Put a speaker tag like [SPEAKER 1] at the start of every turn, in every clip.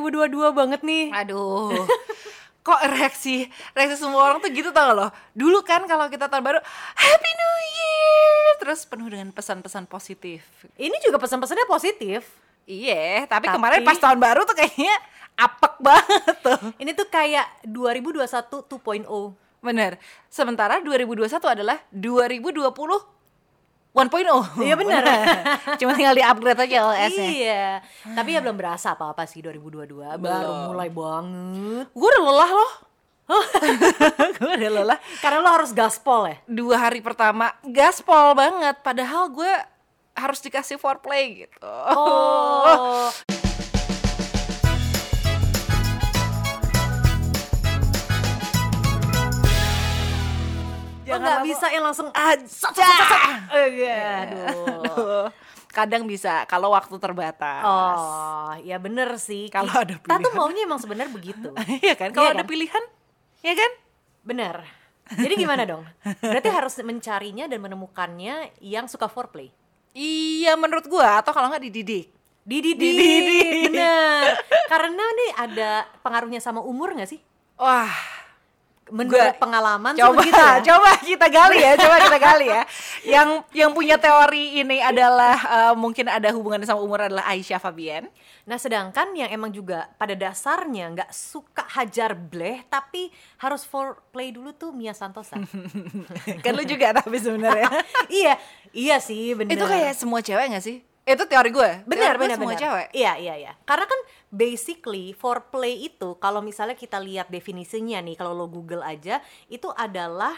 [SPEAKER 1] 2022 banget nih.
[SPEAKER 2] Aduh.
[SPEAKER 1] Kok reaksi reaksi semua orang tuh gitu tau gak loh. Dulu kan kalau kita tahun baru Happy New Year terus penuh dengan pesan-pesan positif.
[SPEAKER 2] Ini juga pesan-pesannya positif.
[SPEAKER 1] Iya, tapi,
[SPEAKER 2] Tapi-
[SPEAKER 1] kemarin pas tahun baru tuh kayaknya apek banget tuh.
[SPEAKER 2] Ini tuh kayak 2021 2.0.
[SPEAKER 1] Bener. Sementara 2021 adalah 2020 1.0.
[SPEAKER 2] Iya, bener.
[SPEAKER 1] Cuma tinggal di-upgrade aja OS-nya.
[SPEAKER 2] Iya. Tapi ya belum berasa apa-apa sih 2022. Baru
[SPEAKER 1] Belum.
[SPEAKER 2] mulai banget.
[SPEAKER 1] Gue udah lelah loh. gue Oh. udah lelah.
[SPEAKER 2] Karena lo harus gaspol ya.
[SPEAKER 1] Dua hari pertama gaspol banget. Padahal gue harus dikasih foreplay gitu.
[SPEAKER 2] Oh. Lo
[SPEAKER 1] Jangan
[SPEAKER 2] nggak
[SPEAKER 1] lama-
[SPEAKER 2] bisa yang langsung
[SPEAKER 1] Ah, sat, sat, sat, sat, sat.
[SPEAKER 2] Iya, Aduh.
[SPEAKER 1] Oh, Aduh. Kadang bisa kalau waktu terbatas.
[SPEAKER 2] Oh, ya bener sih.
[SPEAKER 1] Kalau ada
[SPEAKER 2] Kita tuh
[SPEAKER 1] pilihan.
[SPEAKER 2] maunya emang sebenarnya begitu.
[SPEAKER 1] Iya kan? Kalau
[SPEAKER 2] Iya
[SPEAKER 1] ada
[SPEAKER 2] kan?
[SPEAKER 1] pilihan, ya kan?
[SPEAKER 2] Bener. Jadi gimana dong? Berarti harus mencarinya dan menemukannya yang suka foreplay.
[SPEAKER 1] Iya menurut gue atau kalau nggak dididik.
[SPEAKER 2] Dididik,
[SPEAKER 1] Dididik.
[SPEAKER 2] bener. Karena nih ada pengaruhnya sama umur nggak sih?
[SPEAKER 1] Wah,
[SPEAKER 2] Menurut
[SPEAKER 1] Gua-
[SPEAKER 2] pengalaman sih
[SPEAKER 1] coba
[SPEAKER 2] begitu ya.
[SPEAKER 1] coba kita gali ya, coba kita gali ya. Yang yang punya teori ini adalah eh, mungkin ada hubungannya sama umur adalah Aisyah Fabian.
[SPEAKER 2] Nah sedangkan yang emang juga pada dasarnya nggak suka hajar bleh tapi harus foreplay dulu tuh Mia Santosa.
[SPEAKER 1] kan lu juga tapi sebenarnya.
[SPEAKER 2] iya, iya sih bener.
[SPEAKER 1] Itu kayak semua cewek nggak sih? Itu teori gue.
[SPEAKER 2] benar
[SPEAKER 1] Teori gue
[SPEAKER 2] benar
[SPEAKER 1] semua
[SPEAKER 2] benar.
[SPEAKER 1] cewek.
[SPEAKER 2] Iya iya iya. Karena kan basically foreplay itu kalau misalnya kita lihat definisinya nih kalau lo Google aja itu adalah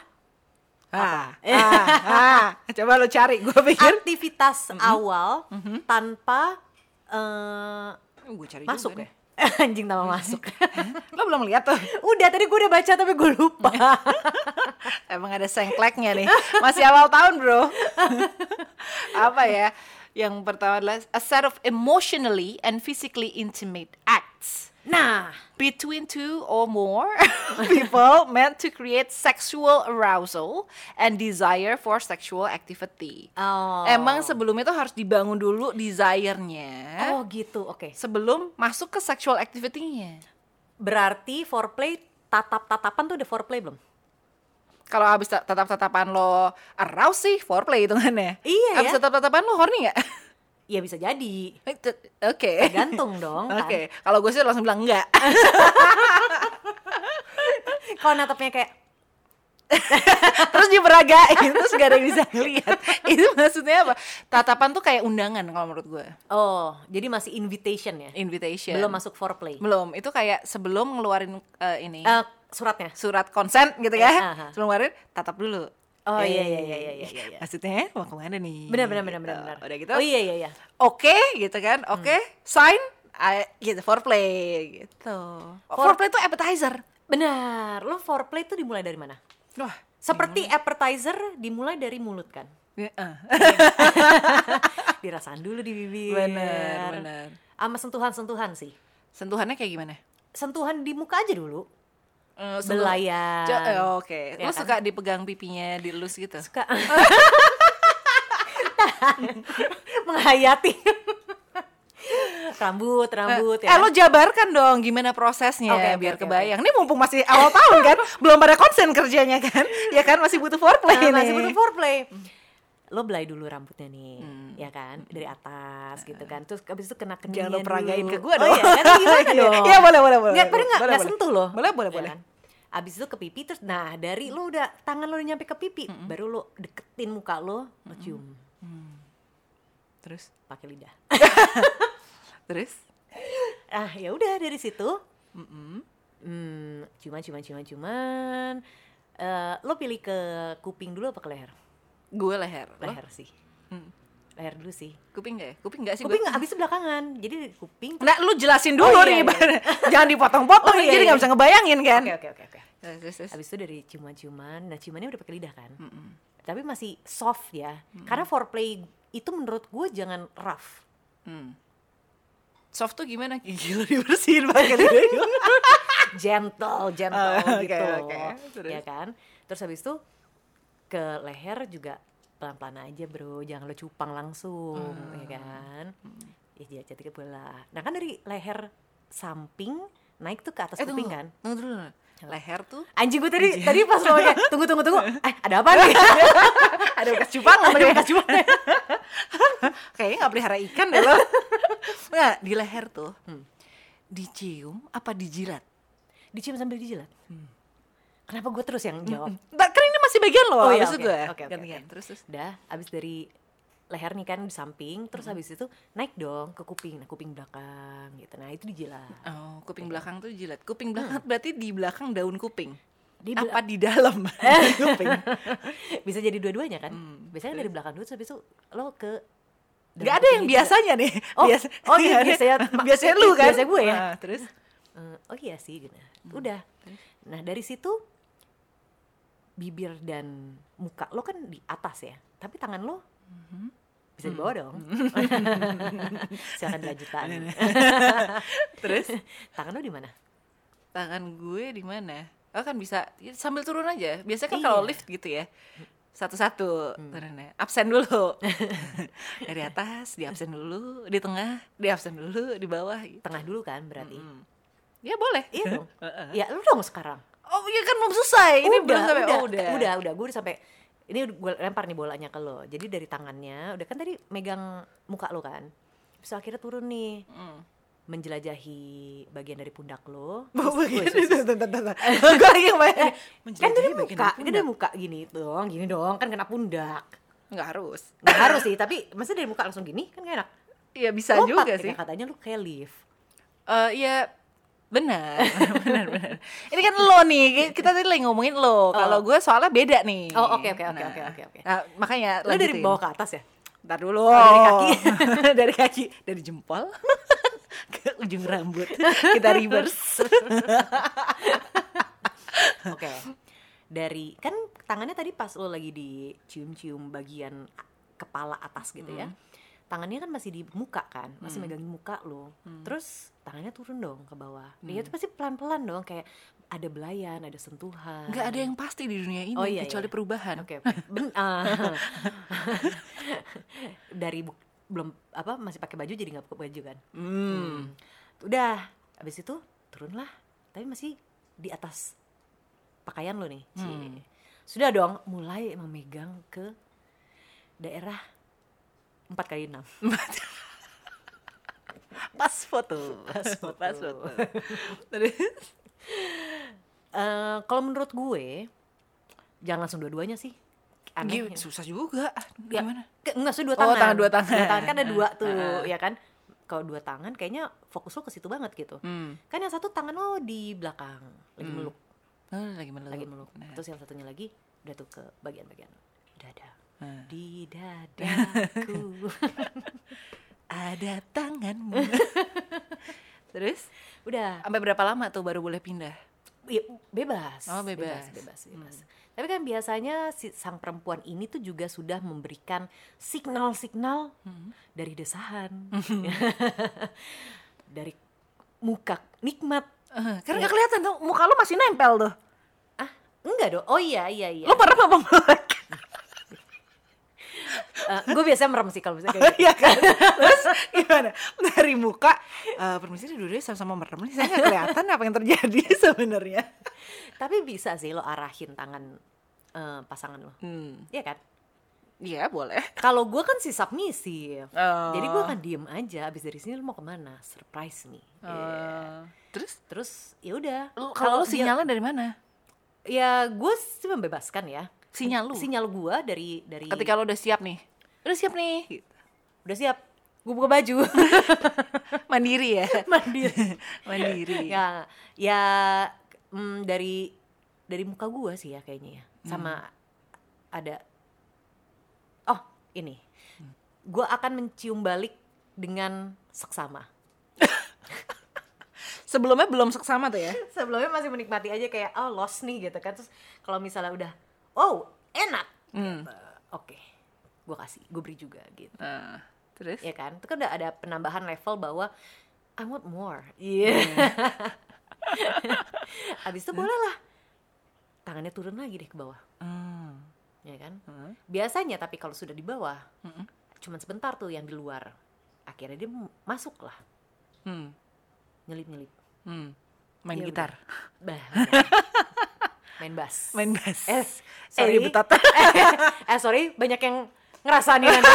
[SPEAKER 1] Ah, ah, ah. Coba lu cari, gue pikir. Mm-hmm.
[SPEAKER 2] aktivitas awal tanpa eh,
[SPEAKER 1] gue cari
[SPEAKER 2] masuk ya?
[SPEAKER 1] juga deh.
[SPEAKER 2] anjing nama masuk
[SPEAKER 1] Lo ya. belum lihat tuh.
[SPEAKER 2] udah tadi gue udah baca tapi gue lupa
[SPEAKER 1] Emang ada sengkleknya nih. Masih awal tahun, Bro. Apa ya? Yang pertama adalah a set of emotionally and physically intimate acts.
[SPEAKER 2] nah
[SPEAKER 1] between two or more people meant to create sexual arousal and desire for sexual activity.
[SPEAKER 2] Oh.
[SPEAKER 1] Emang sebelumnya itu harus dibangun dulu desire-nya
[SPEAKER 2] oh gitu oke
[SPEAKER 1] sebelum masuk ke sexual activity-nya.
[SPEAKER 2] berarti foreplay tatap tatapan tuh udah foreplay belum
[SPEAKER 1] Kalau abis ta- tatap-tatapan lo arouse sih foreplay hitungannya.
[SPEAKER 2] Iya ya.
[SPEAKER 1] Abis tatap-tatapan lo horny nggak?
[SPEAKER 2] ya bisa jadi
[SPEAKER 1] Eh, t- Oke.
[SPEAKER 2] gantung dong
[SPEAKER 1] Oke.
[SPEAKER 2] kan
[SPEAKER 1] Kalau gue sih langsung bilang enggak.
[SPEAKER 2] kalau natapnya kayak
[SPEAKER 1] terus diperagain terus gak ada yang bisa lihat itu maksudnya apa tatapan tuh kayak undangan kalau menurut gue
[SPEAKER 2] oh jadi masih invitation ya
[SPEAKER 1] invitation
[SPEAKER 2] belum masuk foreplay
[SPEAKER 1] belum itu kayak sebelum ngeluarin eh, ini
[SPEAKER 2] Eh, suratnya
[SPEAKER 1] surat konsen gitu ya
[SPEAKER 2] Iya, aha.
[SPEAKER 1] sebelum ngeluarin tatap dulu
[SPEAKER 2] Oh,
[SPEAKER 1] Eh,
[SPEAKER 2] iya, iya, iya, iya, iya, iya.
[SPEAKER 1] maksudnya mau kemana nih
[SPEAKER 2] benar benar benar
[SPEAKER 1] Gitu.
[SPEAKER 2] benar benar.
[SPEAKER 1] udah gitu
[SPEAKER 2] oh iya Hmm. iya iya
[SPEAKER 1] oke gitu kan oke sign ah, gitu foreplay gitu
[SPEAKER 2] For-
[SPEAKER 1] foreplay itu appetizer
[SPEAKER 2] benar lo foreplay tuh dimulai dari mana
[SPEAKER 1] wah
[SPEAKER 2] Seperti appetizer dimulai dari mulut kan.
[SPEAKER 1] eh,
[SPEAKER 2] Dirasain dulu di bibir.
[SPEAKER 1] Bener, bener.
[SPEAKER 2] Sama sentuhan-sentuhan sih.
[SPEAKER 1] sentuhannya kayak gimana
[SPEAKER 2] Sentuhan di muka aja dulu.
[SPEAKER 1] Eh, sentuh-
[SPEAKER 2] Belayan.
[SPEAKER 1] Jo- eh, Oke,
[SPEAKER 2] Ya
[SPEAKER 1] lu
[SPEAKER 2] kan?
[SPEAKER 1] suka dipegang pipinya, dielus gitu?
[SPEAKER 2] Suka. Menghayati. rambut, rambut ya kan?
[SPEAKER 1] eh, lo jabarkan dong gimana prosesnya
[SPEAKER 2] Oke, oke,
[SPEAKER 1] biar
[SPEAKER 2] oke,
[SPEAKER 1] kebayang. Ini mumpung masih awal tahun kan, belum pada konsen kerjanya kan? Ya kan masih butuh foreplay
[SPEAKER 2] Nah,
[SPEAKER 1] nih.
[SPEAKER 2] masih butuh foreplay. Lo belai dulu rambutnya nih, ya kan? Dari atas gitu kan. Terus abis itu kena keningnya
[SPEAKER 1] Hmm. Eh. Jangan lo peragain
[SPEAKER 2] dulu.
[SPEAKER 1] ke gua
[SPEAKER 2] Oh
[SPEAKER 1] dong.
[SPEAKER 2] iya, kan gimana dong?
[SPEAKER 1] Iya, boleh, boleh,
[SPEAKER 2] Nggak, padahal
[SPEAKER 1] boleh, boleh.
[SPEAKER 2] nggak-
[SPEAKER 1] Boleh,
[SPEAKER 2] nggak
[SPEAKER 1] boleh.
[SPEAKER 2] sentuh lo.
[SPEAKER 1] Boleh, boleh,
[SPEAKER 2] Ya
[SPEAKER 1] boleh.
[SPEAKER 2] kan? Abis itu ke pipi terus nah dari lo udah tangan lo udah nyampe ke pipi, baru lo deketin muka lo, lo cium
[SPEAKER 1] Terus,
[SPEAKER 2] pakai lidah.
[SPEAKER 1] terus.
[SPEAKER 2] Ah, ya udah dari situ. Hmm, cuman cuman cuman cuman Eh, lo pilih ke kuping dulu apa ke leher?
[SPEAKER 1] Gue leher. Lo?
[SPEAKER 2] Leher sih.
[SPEAKER 1] Hmm.
[SPEAKER 2] Leher dulu sih.
[SPEAKER 1] Kuping gak ya? Kuping gak sih?
[SPEAKER 2] kuping
[SPEAKER 1] gua?
[SPEAKER 2] abis itu belakangan jadi dari kuping
[SPEAKER 1] Nah, lu jelasin
[SPEAKER 2] Oh,
[SPEAKER 1] dulu
[SPEAKER 2] iya, iya.
[SPEAKER 1] nih. Bar. Jangan dipotong-potong,
[SPEAKER 2] Oh, iya,
[SPEAKER 1] jadi
[SPEAKER 2] iya.
[SPEAKER 1] nggak bisa ngebayangin kan?
[SPEAKER 2] oke oke oke oke
[SPEAKER 1] Terus, terus, terus.
[SPEAKER 2] abis itu dari ciuman-ciuman nah ciumannya udah pakai lidah kan tapi masih soft ya karena foreplay itu menurut gue jangan rough
[SPEAKER 1] Hmm. Soft tuh gimana? Gigi lo dibersihin pakai lidah.
[SPEAKER 2] gentle gentle
[SPEAKER 1] Oh, oke,
[SPEAKER 2] gitu
[SPEAKER 1] oke. Terus?
[SPEAKER 2] ya kan terus abis itu ke leher juga pelan-pelan aja bro jangan lo
[SPEAKER 1] Ah.
[SPEAKER 2] cupang langsung ya kan ya jadi cantik bola nah kan dari leher samping naik tuh ke atas
[SPEAKER 1] Eh,
[SPEAKER 2] kuping
[SPEAKER 1] tunggu. Iya.
[SPEAKER 2] kan.
[SPEAKER 1] Tunggu dulu. Leher tuh
[SPEAKER 2] Anjing gue tadi tadi pas lo nanya, tunggu tunggu tunggu. Eh, ada apa nih?
[SPEAKER 1] ada bekas cupang apa
[SPEAKER 2] ada
[SPEAKER 1] dia?
[SPEAKER 2] bekas cupang.
[SPEAKER 1] Kayaknya nggak pelihara ikan deh lo. Nggak, di leher tuh. Dicium apa dijilat?
[SPEAKER 2] Dicium sambil dijilat.
[SPEAKER 1] Hmm.
[SPEAKER 2] Kenapa gue terus yang jawab?
[SPEAKER 1] Nggak, kan ini masih bagian lo.
[SPEAKER 2] Oh, iya,
[SPEAKER 1] maksud
[SPEAKER 2] oke,
[SPEAKER 1] gue.
[SPEAKER 2] oke, oke,
[SPEAKER 1] Gantian.
[SPEAKER 2] oke.
[SPEAKER 1] Terus, terus.
[SPEAKER 2] Udah, abis dari leher nih kan di samping, terus
[SPEAKER 1] Hmm.
[SPEAKER 2] habis itu naik dong ke kuping, nah kuping belakang gitu. Nah, itu dijilat.
[SPEAKER 1] Oh, kuping belakang tuh jilat. Kuping belakang berarti di belakang daun kuping.
[SPEAKER 2] Di
[SPEAKER 1] apa Hmm. di dalam kuping?
[SPEAKER 2] Bisa jadi dua-duanya kan?
[SPEAKER 1] Hmm,
[SPEAKER 2] Biasanya dari belakang dulu terus habis itu lo ke
[SPEAKER 1] Gak ada yang biasanya nih.
[SPEAKER 2] Oh, oh iya,
[SPEAKER 1] ada-
[SPEAKER 2] biasanya-
[SPEAKER 1] biasanya lu kan.
[SPEAKER 2] biasanya gue ya.
[SPEAKER 1] Nah, terus
[SPEAKER 2] Eh, oh iya sih gitu.
[SPEAKER 1] Hmm,
[SPEAKER 2] Udah. Nah, dari situ bibir dan muka lo kan di atas ya. Tapi tangan lo
[SPEAKER 1] Mm-hmm.
[SPEAKER 2] bisa
[SPEAKER 1] Hmm.
[SPEAKER 2] dibawa dong. Silakan dilanjutkan.
[SPEAKER 1] terus
[SPEAKER 2] tangan lo di mana?
[SPEAKER 1] tangan gue di mana? Oh kan bisa ya, sambil turun aja. Biasanya kan
[SPEAKER 2] Iya.
[SPEAKER 1] kalau
[SPEAKER 2] Hmm.
[SPEAKER 1] lift gitu ya. Satu-satu turunnya. Absen dulu. Dari atas di absen dulu, di tengah di absen dulu, di bawah gitu.
[SPEAKER 2] Tengah dulu kan berarti.
[SPEAKER 1] Mm. Ya boleh.
[SPEAKER 2] Iya dong.
[SPEAKER 1] Heeh.
[SPEAKER 2] Ya lu dong sekarang.
[SPEAKER 1] Oh iya kan belum selesai. Ini
[SPEAKER 2] udah,
[SPEAKER 1] belum sampai
[SPEAKER 2] udah,
[SPEAKER 1] oh, udah.
[SPEAKER 2] udah, udah. Gue udah sampai ini gue lempar nih bolanya ke lo. Jadi dari tangannya, udah kan tadi megang muka lo kan. Terus akhirnya turun nih,
[SPEAKER 1] Mm.
[SPEAKER 2] menjelajahi bagian dari pundak lo.
[SPEAKER 1] Mau
[SPEAKER 2] Terus-
[SPEAKER 1] begini,
[SPEAKER 2] wih, sus-
[SPEAKER 1] tar, tar, tar, tar. Gue lagi
[SPEAKER 2] Eh, kan
[SPEAKER 1] bayangin.
[SPEAKER 2] dari
[SPEAKER 1] Menjelajahi bagian
[SPEAKER 2] muka,
[SPEAKER 1] dari
[SPEAKER 2] kan dari muka gini dong, gini dong, kan kena pundak.
[SPEAKER 1] Nggak harus.
[SPEAKER 2] Gak harus sih, tapi maksudnya dari muka langsung gini kan gak enak.
[SPEAKER 1] Iya bisa
[SPEAKER 2] Lompat,
[SPEAKER 1] juga
[SPEAKER 2] ya kan?
[SPEAKER 1] sih.
[SPEAKER 2] Katanya lu kayak lift.
[SPEAKER 1] Eh iya benar, benar, benar. Oh. Ini kan lo nih, ki- kita tadi lagi ngomongin lo. Kalau gue soalnya beda nih.
[SPEAKER 2] Oh, oke, oke, oke, oke, oke, oke.
[SPEAKER 1] Nah, makanya
[SPEAKER 2] Lu dari
[SPEAKER 1] lanjutin. Oh.
[SPEAKER 2] bawah ke atas ya?
[SPEAKER 1] Ntar dulu.
[SPEAKER 2] dari kaki.
[SPEAKER 1] dari kaki, dari jempol ke ujung rambut. Kita reverse.
[SPEAKER 2] Oke. Dari kan tangannya tadi pas lo lagi dicium-cium bagian a- kepala atas gitu ya. Tangannya kan masih di muka kan, masih
[SPEAKER 1] Mm.
[SPEAKER 2] megangin muka lo. Terus tangannya turun dong ke bawah. Dia
[SPEAKER 1] Mm.
[SPEAKER 2] tuh pasti pelan-pelan dong kayak ada belayan, ada sentuhan.
[SPEAKER 1] Nggak ada yang kan? pasti di dunia ini
[SPEAKER 2] Oh, iya,
[SPEAKER 1] kecuali
[SPEAKER 2] iya.
[SPEAKER 1] perubahan.
[SPEAKER 2] Oke, oke. Ben- ah. dari bu- belum apa masih pakai baju jadi nggak pakai baju kan.
[SPEAKER 1] Hmm.
[SPEAKER 2] Udah, habis itu turunlah. Tapi masih di atas pakaian lo nih. Cie.
[SPEAKER 1] Hmm.
[SPEAKER 2] Sudah dong, mulai memegang ke daerah 4 kali 6.
[SPEAKER 1] Pas foto.
[SPEAKER 2] Pas foto.
[SPEAKER 1] Pas foto. Terus
[SPEAKER 2] Eh, kalau menurut gue jangan langsung dua-duanya sih. Aneh.
[SPEAKER 1] Gi- Hmm. susah juga. Aduh,
[SPEAKER 2] Ya,
[SPEAKER 1] Gimana?
[SPEAKER 2] Ke- Enggak, maksudnya dua
[SPEAKER 1] Oh,
[SPEAKER 2] tangan.
[SPEAKER 1] tangan dua tangan.
[SPEAKER 2] kan ada dua tuh,
[SPEAKER 1] Heeh.
[SPEAKER 2] ya kan? Kalau dua tangan kayaknya fokus lo ke situ banget gitu.
[SPEAKER 1] Hmm.
[SPEAKER 2] Kan yang satu tangan lo di belakang, lagi
[SPEAKER 1] Hmm.
[SPEAKER 2] meluk,
[SPEAKER 1] Oh, lagi meluk.
[SPEAKER 2] lagi meluk.
[SPEAKER 1] Nah.
[SPEAKER 2] Terus yang satunya lagi udah tuh ke bagian-bagian dada.
[SPEAKER 1] Nah.
[SPEAKER 2] Di dadaku.
[SPEAKER 1] ada tanganmu. Terus
[SPEAKER 2] udah
[SPEAKER 1] sampai berapa lama tuh baru boleh pindah?
[SPEAKER 2] Ya, bebas.
[SPEAKER 1] Oh, bebas.
[SPEAKER 2] Bebas, bebas, bebas. Tapi kan biasanya si sang perempuan ini tuh juga sudah memberikan signal-signal
[SPEAKER 1] Hmm.
[SPEAKER 2] dari desahan. dari muka nikmat.
[SPEAKER 1] Eh, karena nggak kelihatan tuh muka lu masih nempel tuh.
[SPEAKER 2] Ah, enggak dong. Oh iya, iya, iya.
[SPEAKER 1] Lu pernah apa melek?
[SPEAKER 2] gue biasanya Eh, merem sih kalau misalnya kayak gitu.
[SPEAKER 1] Iya kan? Terus gimana? Dari muka eh permisi nih, dua-duanya sama-sama merem nih. Saya nggak kelihatan apa yang terjadi sebenarnya. iya.
[SPEAKER 2] Tapi bisa sih lo arahin tangan eh, pasangan lo.
[SPEAKER 1] Hmm,
[SPEAKER 2] Iya kan?
[SPEAKER 1] iya boleh.
[SPEAKER 2] Kalau gue kan si submisif.
[SPEAKER 1] Oh.
[SPEAKER 2] Jadi gue akan diem aja. Abis dari sini lo mau kemana? Surprise me. Iya.
[SPEAKER 1] Eh, Terus
[SPEAKER 2] Terus ya udah.
[SPEAKER 1] lu- kalau lu
[SPEAKER 2] dia-
[SPEAKER 1] sinyalnya dari mana?
[SPEAKER 2] ya gue sih membebaskan ya
[SPEAKER 1] Sinyal lu.
[SPEAKER 2] sinyal gue dari dari
[SPEAKER 1] Ketika lu udah siap nih. Udah siap nih. Gitu.
[SPEAKER 2] udah siap gue buka baju
[SPEAKER 1] Mandiri ya.
[SPEAKER 2] mandiri
[SPEAKER 1] Mandiri.
[SPEAKER 2] ya ya mm, dari dari muka gue sih ya kayaknya ya sama ada oh ini gue akan mencium balik dengan seksama
[SPEAKER 1] Sebelumnya belum seksama tuh ya.
[SPEAKER 2] sebelumnya masih menikmati aja kayak oh lost nih gitu kan terus kalau misalnya udah oh enak
[SPEAKER 1] Hmm.
[SPEAKER 2] gitu. oke gue kasih gue beri juga gitu
[SPEAKER 1] Nah, terus
[SPEAKER 2] ya kan itu kan udah ada penambahan level bahwa I want more iya
[SPEAKER 1] Iya.
[SPEAKER 2] abis itu boleh lah tangannya turun lagi deh ke bawah
[SPEAKER 1] Hmm.
[SPEAKER 2] ya kan
[SPEAKER 1] Hmm.
[SPEAKER 2] biasanya tapi kalau sudah di bawah
[SPEAKER 1] Mm-mm.
[SPEAKER 2] cuman sebentar tuh yang di luar akhirnya dia m- masuk lah
[SPEAKER 1] Hmm.
[SPEAKER 2] nyelip nyelip
[SPEAKER 1] Hmm. Main
[SPEAKER 2] Iya,
[SPEAKER 1] gitar,
[SPEAKER 2] bah main bass
[SPEAKER 1] main bass.
[SPEAKER 2] eh sorry
[SPEAKER 1] sorry. betata.
[SPEAKER 2] eh sorry banyak yang ngerasa nih nanti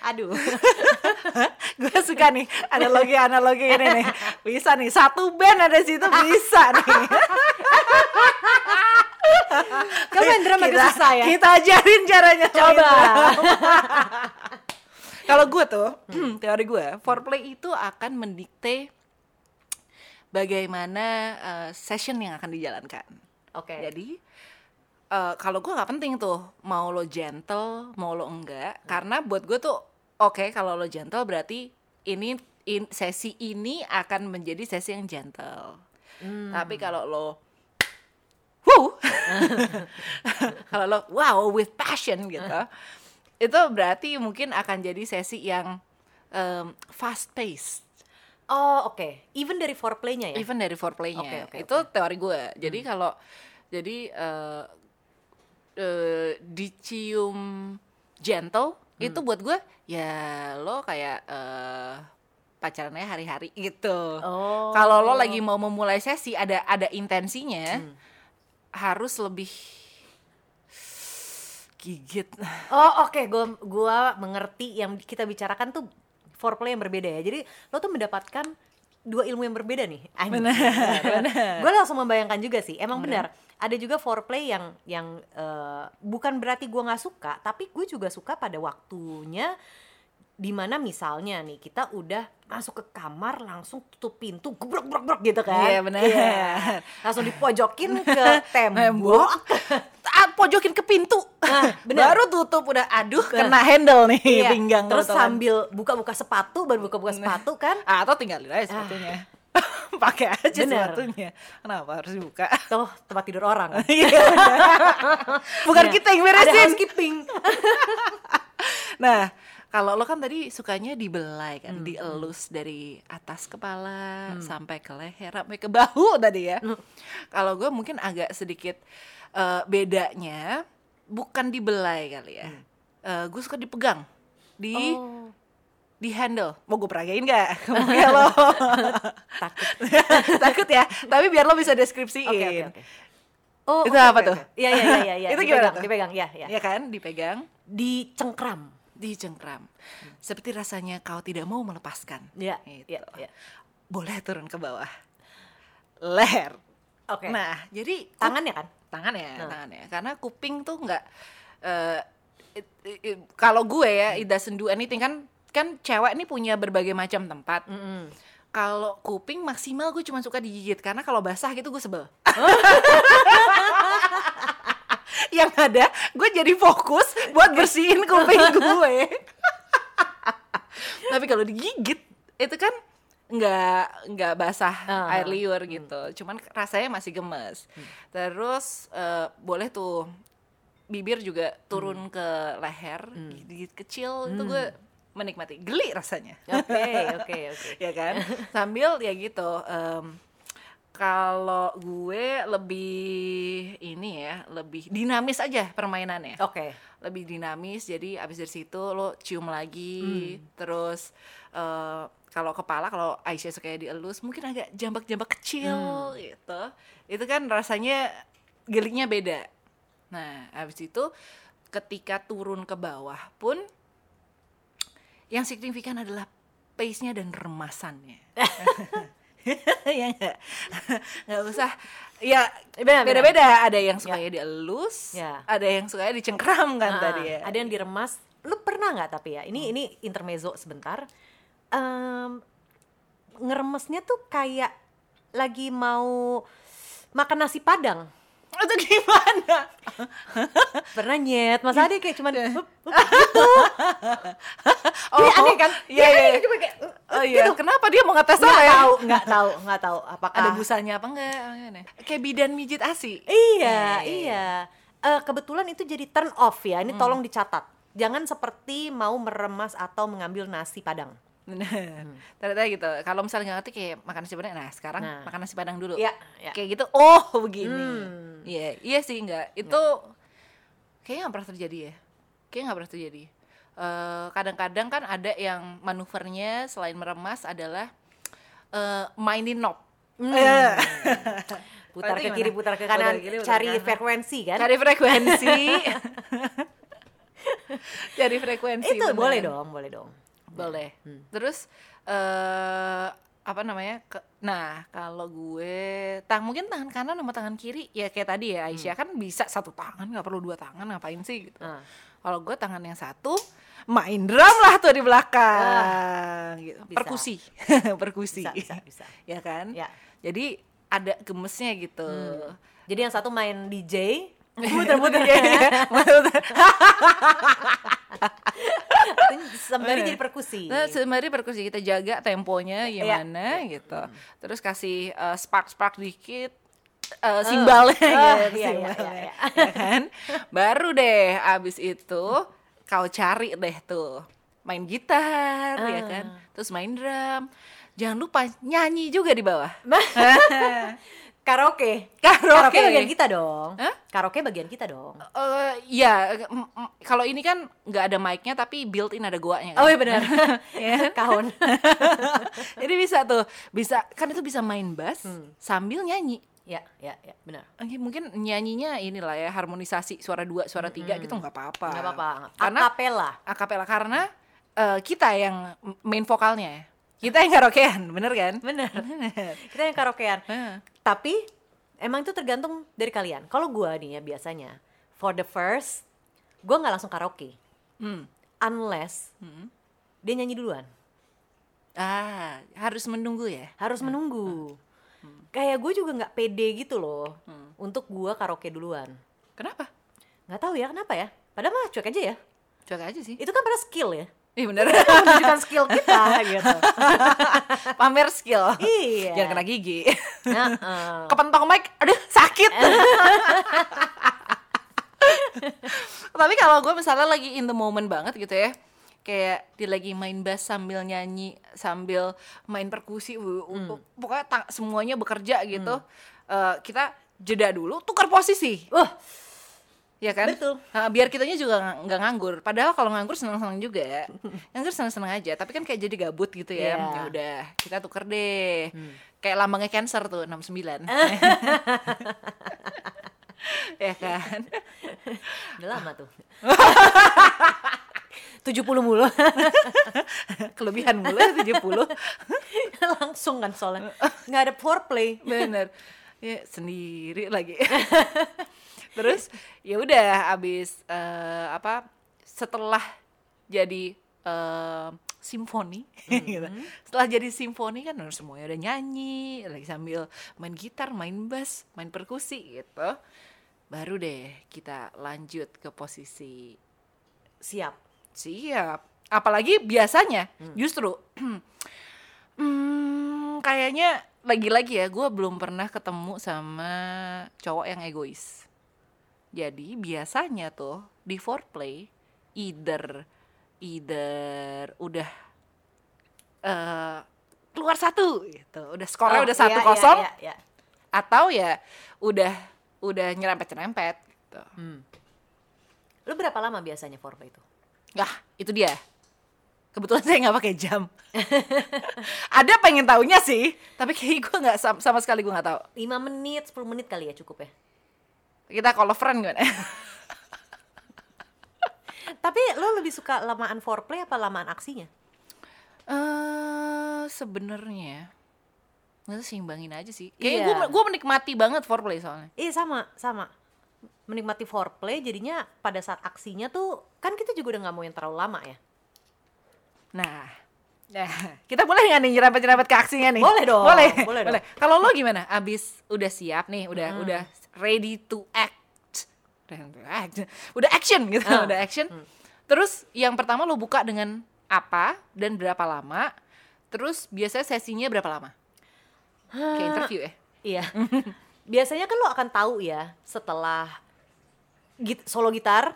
[SPEAKER 2] aduh
[SPEAKER 1] Gue suka nih analogi-analogi ini nih. Bisa nih satu band ada di situ bisa nih.
[SPEAKER 2] kamu Indra makin
[SPEAKER 1] kita,
[SPEAKER 2] susah ya
[SPEAKER 1] Kita ajarin caranya.
[SPEAKER 2] coba
[SPEAKER 1] Mahendra. Kalau gue tuh, hmm, teori gue, foreplay itu akan mendikte bagaimana eh, session yang akan dijalankan.
[SPEAKER 2] oke
[SPEAKER 1] Jadi eh, kalau gue nggak penting tuh mau lo gentle, mau lo enggak, karena buat gue tuh oke kalau lo gentle berarti ini in- sesi ini akan menjadi sesi yang gentle. Tapi kalau lo wow, kalau lo wow with passion gitu, itu berarti mungkin akan jadi sesi yang em, fast paced.
[SPEAKER 2] oh oke even dari foreplaynya ya
[SPEAKER 1] Even dari foreplaynya
[SPEAKER 2] Oke, Hmm. oke,
[SPEAKER 1] itu teori gue. Jadi kalau jadi eh eh, dicium gentle
[SPEAKER 2] Hmm.
[SPEAKER 1] itu buat gue ya lo kayak eh pacarannya hari-hari gitu.
[SPEAKER 2] Oh.
[SPEAKER 1] Kalau lo lagi mau memulai sesi ada ada intensinya
[SPEAKER 2] Hmm.
[SPEAKER 1] harus lebih gigit.
[SPEAKER 2] Oh oke, gua gua mengerti yang kita bicarakan tuh foreplay yang berbeda ya. Jadi lo tuh mendapatkan dua ilmu yang berbeda nih. Benar. Gue langsung membayangkan juga sih. Emang benar. Ada juga foreplay yang yang eh, bukan berarti gua nggak suka, tapi gue juga suka pada waktunya dimana misalnya nih kita udah masuk ke kamar langsung tutup pintu gebrok gebrok gebrok gitu kan
[SPEAKER 1] Iya, benar.
[SPEAKER 2] langsung dipojokin ke
[SPEAKER 1] Tembok.
[SPEAKER 2] tembok
[SPEAKER 1] Ah, pojokin ke pintu.
[SPEAKER 2] Nah, benar.
[SPEAKER 1] Baru tutup udah aduh kena handle nih
[SPEAKER 2] Iya,
[SPEAKER 1] pinggang kan?
[SPEAKER 2] terus
[SPEAKER 1] lo, teman.
[SPEAKER 2] sambil buka-buka sepatu baru buka-buka sepatu kan
[SPEAKER 1] Ah, atau tinggalin aja sepatunya pakai aja
[SPEAKER 2] Ah. Bener.
[SPEAKER 1] sepatunya kenapa harus dibuka
[SPEAKER 2] tuh tempat tidur orang
[SPEAKER 1] Iya, bener. bukan
[SPEAKER 2] Iya.
[SPEAKER 1] kita yang
[SPEAKER 2] ada
[SPEAKER 1] beresin
[SPEAKER 2] housekeeping
[SPEAKER 1] nah kalau lo kan tadi sukanya dibelai kan dielus dari atas kepala sampai ke leher sampai ke bahu tadi ya kalau gue mungkin agak sedikit eh, bedanya bukan dibelai kali ya Eh, gue suka dipegang di
[SPEAKER 2] oh,
[SPEAKER 1] di handle mau gue peragain nggak Mungkin lo
[SPEAKER 2] takut
[SPEAKER 1] takut ya tapi biar lo bisa deskripsiin
[SPEAKER 2] oke oke oke Iya. oh
[SPEAKER 1] Itu
[SPEAKER 2] oke,
[SPEAKER 1] apa
[SPEAKER 2] oke,
[SPEAKER 1] tuh?
[SPEAKER 2] oke. iya iya iya iya ya.
[SPEAKER 1] Itu gimana
[SPEAKER 2] dipegang
[SPEAKER 1] tuh?
[SPEAKER 2] dipegang ya ya
[SPEAKER 1] ya kan dipegang
[SPEAKER 2] dicengkram
[SPEAKER 1] dicengkram seperti rasanya kau tidak mau melepaskan
[SPEAKER 2] ya
[SPEAKER 1] Gitu.
[SPEAKER 2] ya ya
[SPEAKER 1] boleh turun ke bawah leher
[SPEAKER 2] oke
[SPEAKER 1] nah jadi
[SPEAKER 2] tangannya kan
[SPEAKER 1] tangan ya
[SPEAKER 2] Nah.
[SPEAKER 1] tangan ya karena kuping tuh nggak eh, it- it- it- kalau gue ya it doesn't do anything kan kan cewek ini punya berbagai macam tempat
[SPEAKER 2] Mm-mm.
[SPEAKER 1] kalau kuping maksimal gue cuma suka digigit karena kalau basah gitu gue sebel. Yang ada gue jadi fokus buat bersihin kuping gue. Tapi kalau digigit itu kan nggak nggak basah
[SPEAKER 2] Ah.
[SPEAKER 1] air liur gitu. Cuman rasanya masih gemes. Terus eh, boleh tuh bibir juga turun ke leher, gigit kecil itu gue menikmati. Geli rasanya
[SPEAKER 2] oke oke oke
[SPEAKER 1] ya kan sambil ya gitu em, kalau gue lebih ini ya lebih dinamis aja permainannya
[SPEAKER 2] oke
[SPEAKER 1] lebih dinamis jadi abis dari situ lo cium lagi terus eh, kalau kepala kalau Aisyah suka dielus mungkin agak jambak-jambak kecil gitu itu kan rasanya gelinya beda nah abis itu ketika turun ke bawah pun yang signifikan adalah pace-nya dan remasannya ya nggak nggak usah ya
[SPEAKER 2] Benar, benar.
[SPEAKER 1] beda-beda ada yang sukanya dielus
[SPEAKER 2] Ya.
[SPEAKER 1] ada yang sukanya dicengkram kan
[SPEAKER 2] Ah,
[SPEAKER 1] tadi ya
[SPEAKER 2] Ada yang diremas. Lu pernah nggak tapi ya? Ini ini intermezzo sebentar. Em, ngeremesnya tuh kayak lagi mau makan nasi padang.
[SPEAKER 1] itu gimana
[SPEAKER 2] Pernah nyet, Mas Ade kayak cuman "Hup, hup."
[SPEAKER 1] oh
[SPEAKER 2] Iya, aneh kan?
[SPEAKER 1] iya
[SPEAKER 2] Iya,
[SPEAKER 1] iya
[SPEAKER 2] aneh, cuma kayak,
[SPEAKER 1] oh iya kenapa dia mau ngetes
[SPEAKER 2] nggak
[SPEAKER 1] apa ya
[SPEAKER 2] tahu, nggak tahu, nggak tahu apakah
[SPEAKER 1] ada busanya apa enggak Gimana? kayak bidan Ah. mijit asi
[SPEAKER 2] Iya,
[SPEAKER 1] Eh.
[SPEAKER 2] iya. Eh, kebetulan itu jadi turn off ya. Ini tolong dicatat. Jangan seperti mau meremas atau mengambil nasi padang.
[SPEAKER 1] bener ternyata gitu kalau misalnya nggak ngerti kayak makan nasi padang nah sekarang
[SPEAKER 2] Hmm. Nah.
[SPEAKER 1] makan nasi padang dulu
[SPEAKER 2] Iya, iya.
[SPEAKER 1] kayak gitu oh begini
[SPEAKER 2] Hmm. Iya.
[SPEAKER 1] iya iya sih enggak itu kayaknya nggak pernah terjadi ya kayaknya nggak pernah terjadi eh, kadang-kadang kan ada yang manuvernya selain meremas adalah eh, mainin knob.
[SPEAKER 2] Hmm.
[SPEAKER 1] Eh,
[SPEAKER 2] putar
[SPEAKER 1] Berarti
[SPEAKER 2] ke kiri,
[SPEAKER 1] gimana?
[SPEAKER 2] putar ke
[SPEAKER 1] Putar
[SPEAKER 2] kanan,
[SPEAKER 1] ke kiri, putar
[SPEAKER 2] cari
[SPEAKER 1] ke kanan.
[SPEAKER 2] frekuensi kan?
[SPEAKER 1] Cari frekuensi. Cari frekuensi.
[SPEAKER 2] itu
[SPEAKER 1] bener.
[SPEAKER 2] boleh dong, boleh dong.
[SPEAKER 1] Boleh.
[SPEAKER 2] Hmm.
[SPEAKER 1] Terus eh apa namanya? ke- nah, kalau gue tang mungkin tangan kanan sama tangan kiri ya kayak tadi ya Aisyah kan bisa satu tangan nggak perlu dua tangan ngapain sih gitu.
[SPEAKER 2] Hmm. Ah.
[SPEAKER 1] Kalau gue tangan yang satu main drum lah tuh di belakang gitu.
[SPEAKER 2] Ah. bisa.
[SPEAKER 1] Perkusi. Perkusi.
[SPEAKER 2] Bisa, bisa, bisa.
[SPEAKER 1] Ya kan?
[SPEAKER 2] Ya. Hmm.
[SPEAKER 1] Jadi ada gemesnya gitu.
[SPEAKER 2] Jadi yang satu main DJ,
[SPEAKER 1] Muter-muter ya, ya. Muter-muter.
[SPEAKER 2] sembari jadi perkusi.
[SPEAKER 1] Nah, sembari perkusi kita jaga temponya
[SPEAKER 2] Ya,
[SPEAKER 1] gimana gitu. Terus kasih eh, spark-spark dikit eh,
[SPEAKER 2] Ah,
[SPEAKER 1] simbalnya gitu,
[SPEAKER 2] iya, iya,
[SPEAKER 1] simbalnya,
[SPEAKER 2] iya,
[SPEAKER 1] ya kan? Baru deh abis itu kau cari deh tuh main gitar
[SPEAKER 2] Ah.
[SPEAKER 1] ya kan. Terus main drum. Jangan lupa nyanyi juga di bawah.
[SPEAKER 2] Karaoke.
[SPEAKER 1] Karaoke.
[SPEAKER 2] bagian kita dong.
[SPEAKER 1] Hah?
[SPEAKER 2] Karaoke bagian kita dong.
[SPEAKER 1] Eh ya m- m- kalau ini kan nggak ada mic-nya tapi built-in ada goanya kan.
[SPEAKER 2] Oh iya benar. Kahon.
[SPEAKER 1] Jadi bisa tuh, bisa kan itu bisa main bass
[SPEAKER 2] Hmm.
[SPEAKER 1] sambil nyanyi.
[SPEAKER 2] ya, ya, ya, benar.
[SPEAKER 1] Oke, mungkin nyanyinya inilah ya harmonisasi suara dua, suara tiga gitu nggak apa-apa.
[SPEAKER 2] Enggak apa-apa.
[SPEAKER 1] Karena
[SPEAKER 2] Akapela.
[SPEAKER 1] akapela karena eh, kita yang main vokalnya ya. Kita yang karaokean, bener kan?
[SPEAKER 2] Benar. Kita yang karaokean.
[SPEAKER 1] Heeh.
[SPEAKER 2] Tapi emang itu tergantung dari kalian. Kalau gua nih ya biasanya for the first gua nggak langsung karaoke
[SPEAKER 1] Hmm.
[SPEAKER 2] unless dia nyanyi duluan.
[SPEAKER 1] Ah, harus menunggu ya.
[SPEAKER 2] Harus menunggu. Kayak gue juga nggak pede gitu loh untuk gua karaoke duluan.
[SPEAKER 1] Kenapa?
[SPEAKER 2] Nggak tahu ya kenapa ya. Padahal mah cuek aja ya.
[SPEAKER 1] Cuek aja sih.
[SPEAKER 2] Itu kan pada skill ya.
[SPEAKER 1] Ih Iya, bener.
[SPEAKER 2] Menunjukkan skill kita gitu.
[SPEAKER 1] Pamer skill.
[SPEAKER 2] Iya.
[SPEAKER 1] Jangan kena gigi.
[SPEAKER 2] Nah, eh,
[SPEAKER 1] Kepentok mic, aduh sakit. Tapi kalau gue misalnya lagi in the moment banget gitu ya kayak dia lagi main bass sambil nyanyi sambil main perkusi wuh, wuh, pokoknya ta- semuanya bekerja gitu Eh, kita jeda dulu tukar posisi
[SPEAKER 2] Wah.
[SPEAKER 1] ya kan
[SPEAKER 2] Betul.
[SPEAKER 1] Eh, biar kitanya juga nggak- nggak nganggur padahal kalau nganggur seneng-seneng juga ya nganggur seneng-seneng aja tapi kan kayak jadi gabut gitu
[SPEAKER 2] Iya.
[SPEAKER 1] ya
[SPEAKER 2] Hmm.
[SPEAKER 1] ya udah kita tuker deh kayak lambangnya cancer tuh 69 ya kan
[SPEAKER 2] udah lama tuh. 70 mulu
[SPEAKER 1] kelebihan mulai 70
[SPEAKER 2] langsung kan soalnya nggak ada foreplay
[SPEAKER 1] bener ya sendiri lagi terus ya udah abis eh, apa setelah jadi eh, simfoni gitu. setelah jadi simfoni kan harus semuanya udah nyanyi lagi sambil main gitar main bass main perkusi gitu baru deh kita lanjut ke posisi
[SPEAKER 2] siap
[SPEAKER 1] Siap. Apalagi biasanya justru hmm, kayaknya lagi-lagi ya gue belum pernah ketemu sama cowok yang egois. Jadi biasanya tuh di foreplay either either udah eh, keluar satu gitu. Udah skornya
[SPEAKER 2] Oh,
[SPEAKER 1] udah
[SPEAKER 2] iya,
[SPEAKER 1] satu
[SPEAKER 2] iya,
[SPEAKER 1] kosong
[SPEAKER 2] iya, iya.
[SPEAKER 1] atau ya udah udah nyerempet-nyerempet gitu.
[SPEAKER 2] lu berapa lama biasanya foreplay itu
[SPEAKER 1] Nah, itu dia. Kebetulan saya nggak pakai jam. Ada pengen taunya sih, tapi kayak gue nggak sam- sama, sekali gue nggak tahu.
[SPEAKER 2] 5 menit 10 menit kali ya cukup ya
[SPEAKER 1] Kita call a friend gimana?
[SPEAKER 2] tapi lu lebih suka lamaan foreplay apa lamaan aksinya
[SPEAKER 1] Eh, Sebenarnya nggak tahu, seimbangin aja sih. Kayaknya
[SPEAKER 2] Iya.
[SPEAKER 1] gue gue menikmati banget foreplay soalnya.
[SPEAKER 2] iya sama sama menikmati foreplay jadinya pada saat aksinya tuh kan kita juga udah nggak mau yang terlalu lama ya
[SPEAKER 1] Nah, nah kita boleh nggak nih nyerempet-nyerempet ke aksinya nih?
[SPEAKER 2] Boleh dong,
[SPEAKER 1] Boleh.
[SPEAKER 2] boleh
[SPEAKER 1] Boleh. Hmm.
[SPEAKER 2] dong.
[SPEAKER 1] Kalau lo gimana? Abis udah siap nih, udah udah ready to act, Ready to act. udah action gitu,
[SPEAKER 2] Ah.
[SPEAKER 1] udah action. Terus yang pertama lo buka dengan apa dan berapa lama? Terus biasanya sesinya berapa lama? Kayak interview ya?
[SPEAKER 2] Iya. Biasanya kan lo akan tahu ya setelah git- solo gitar.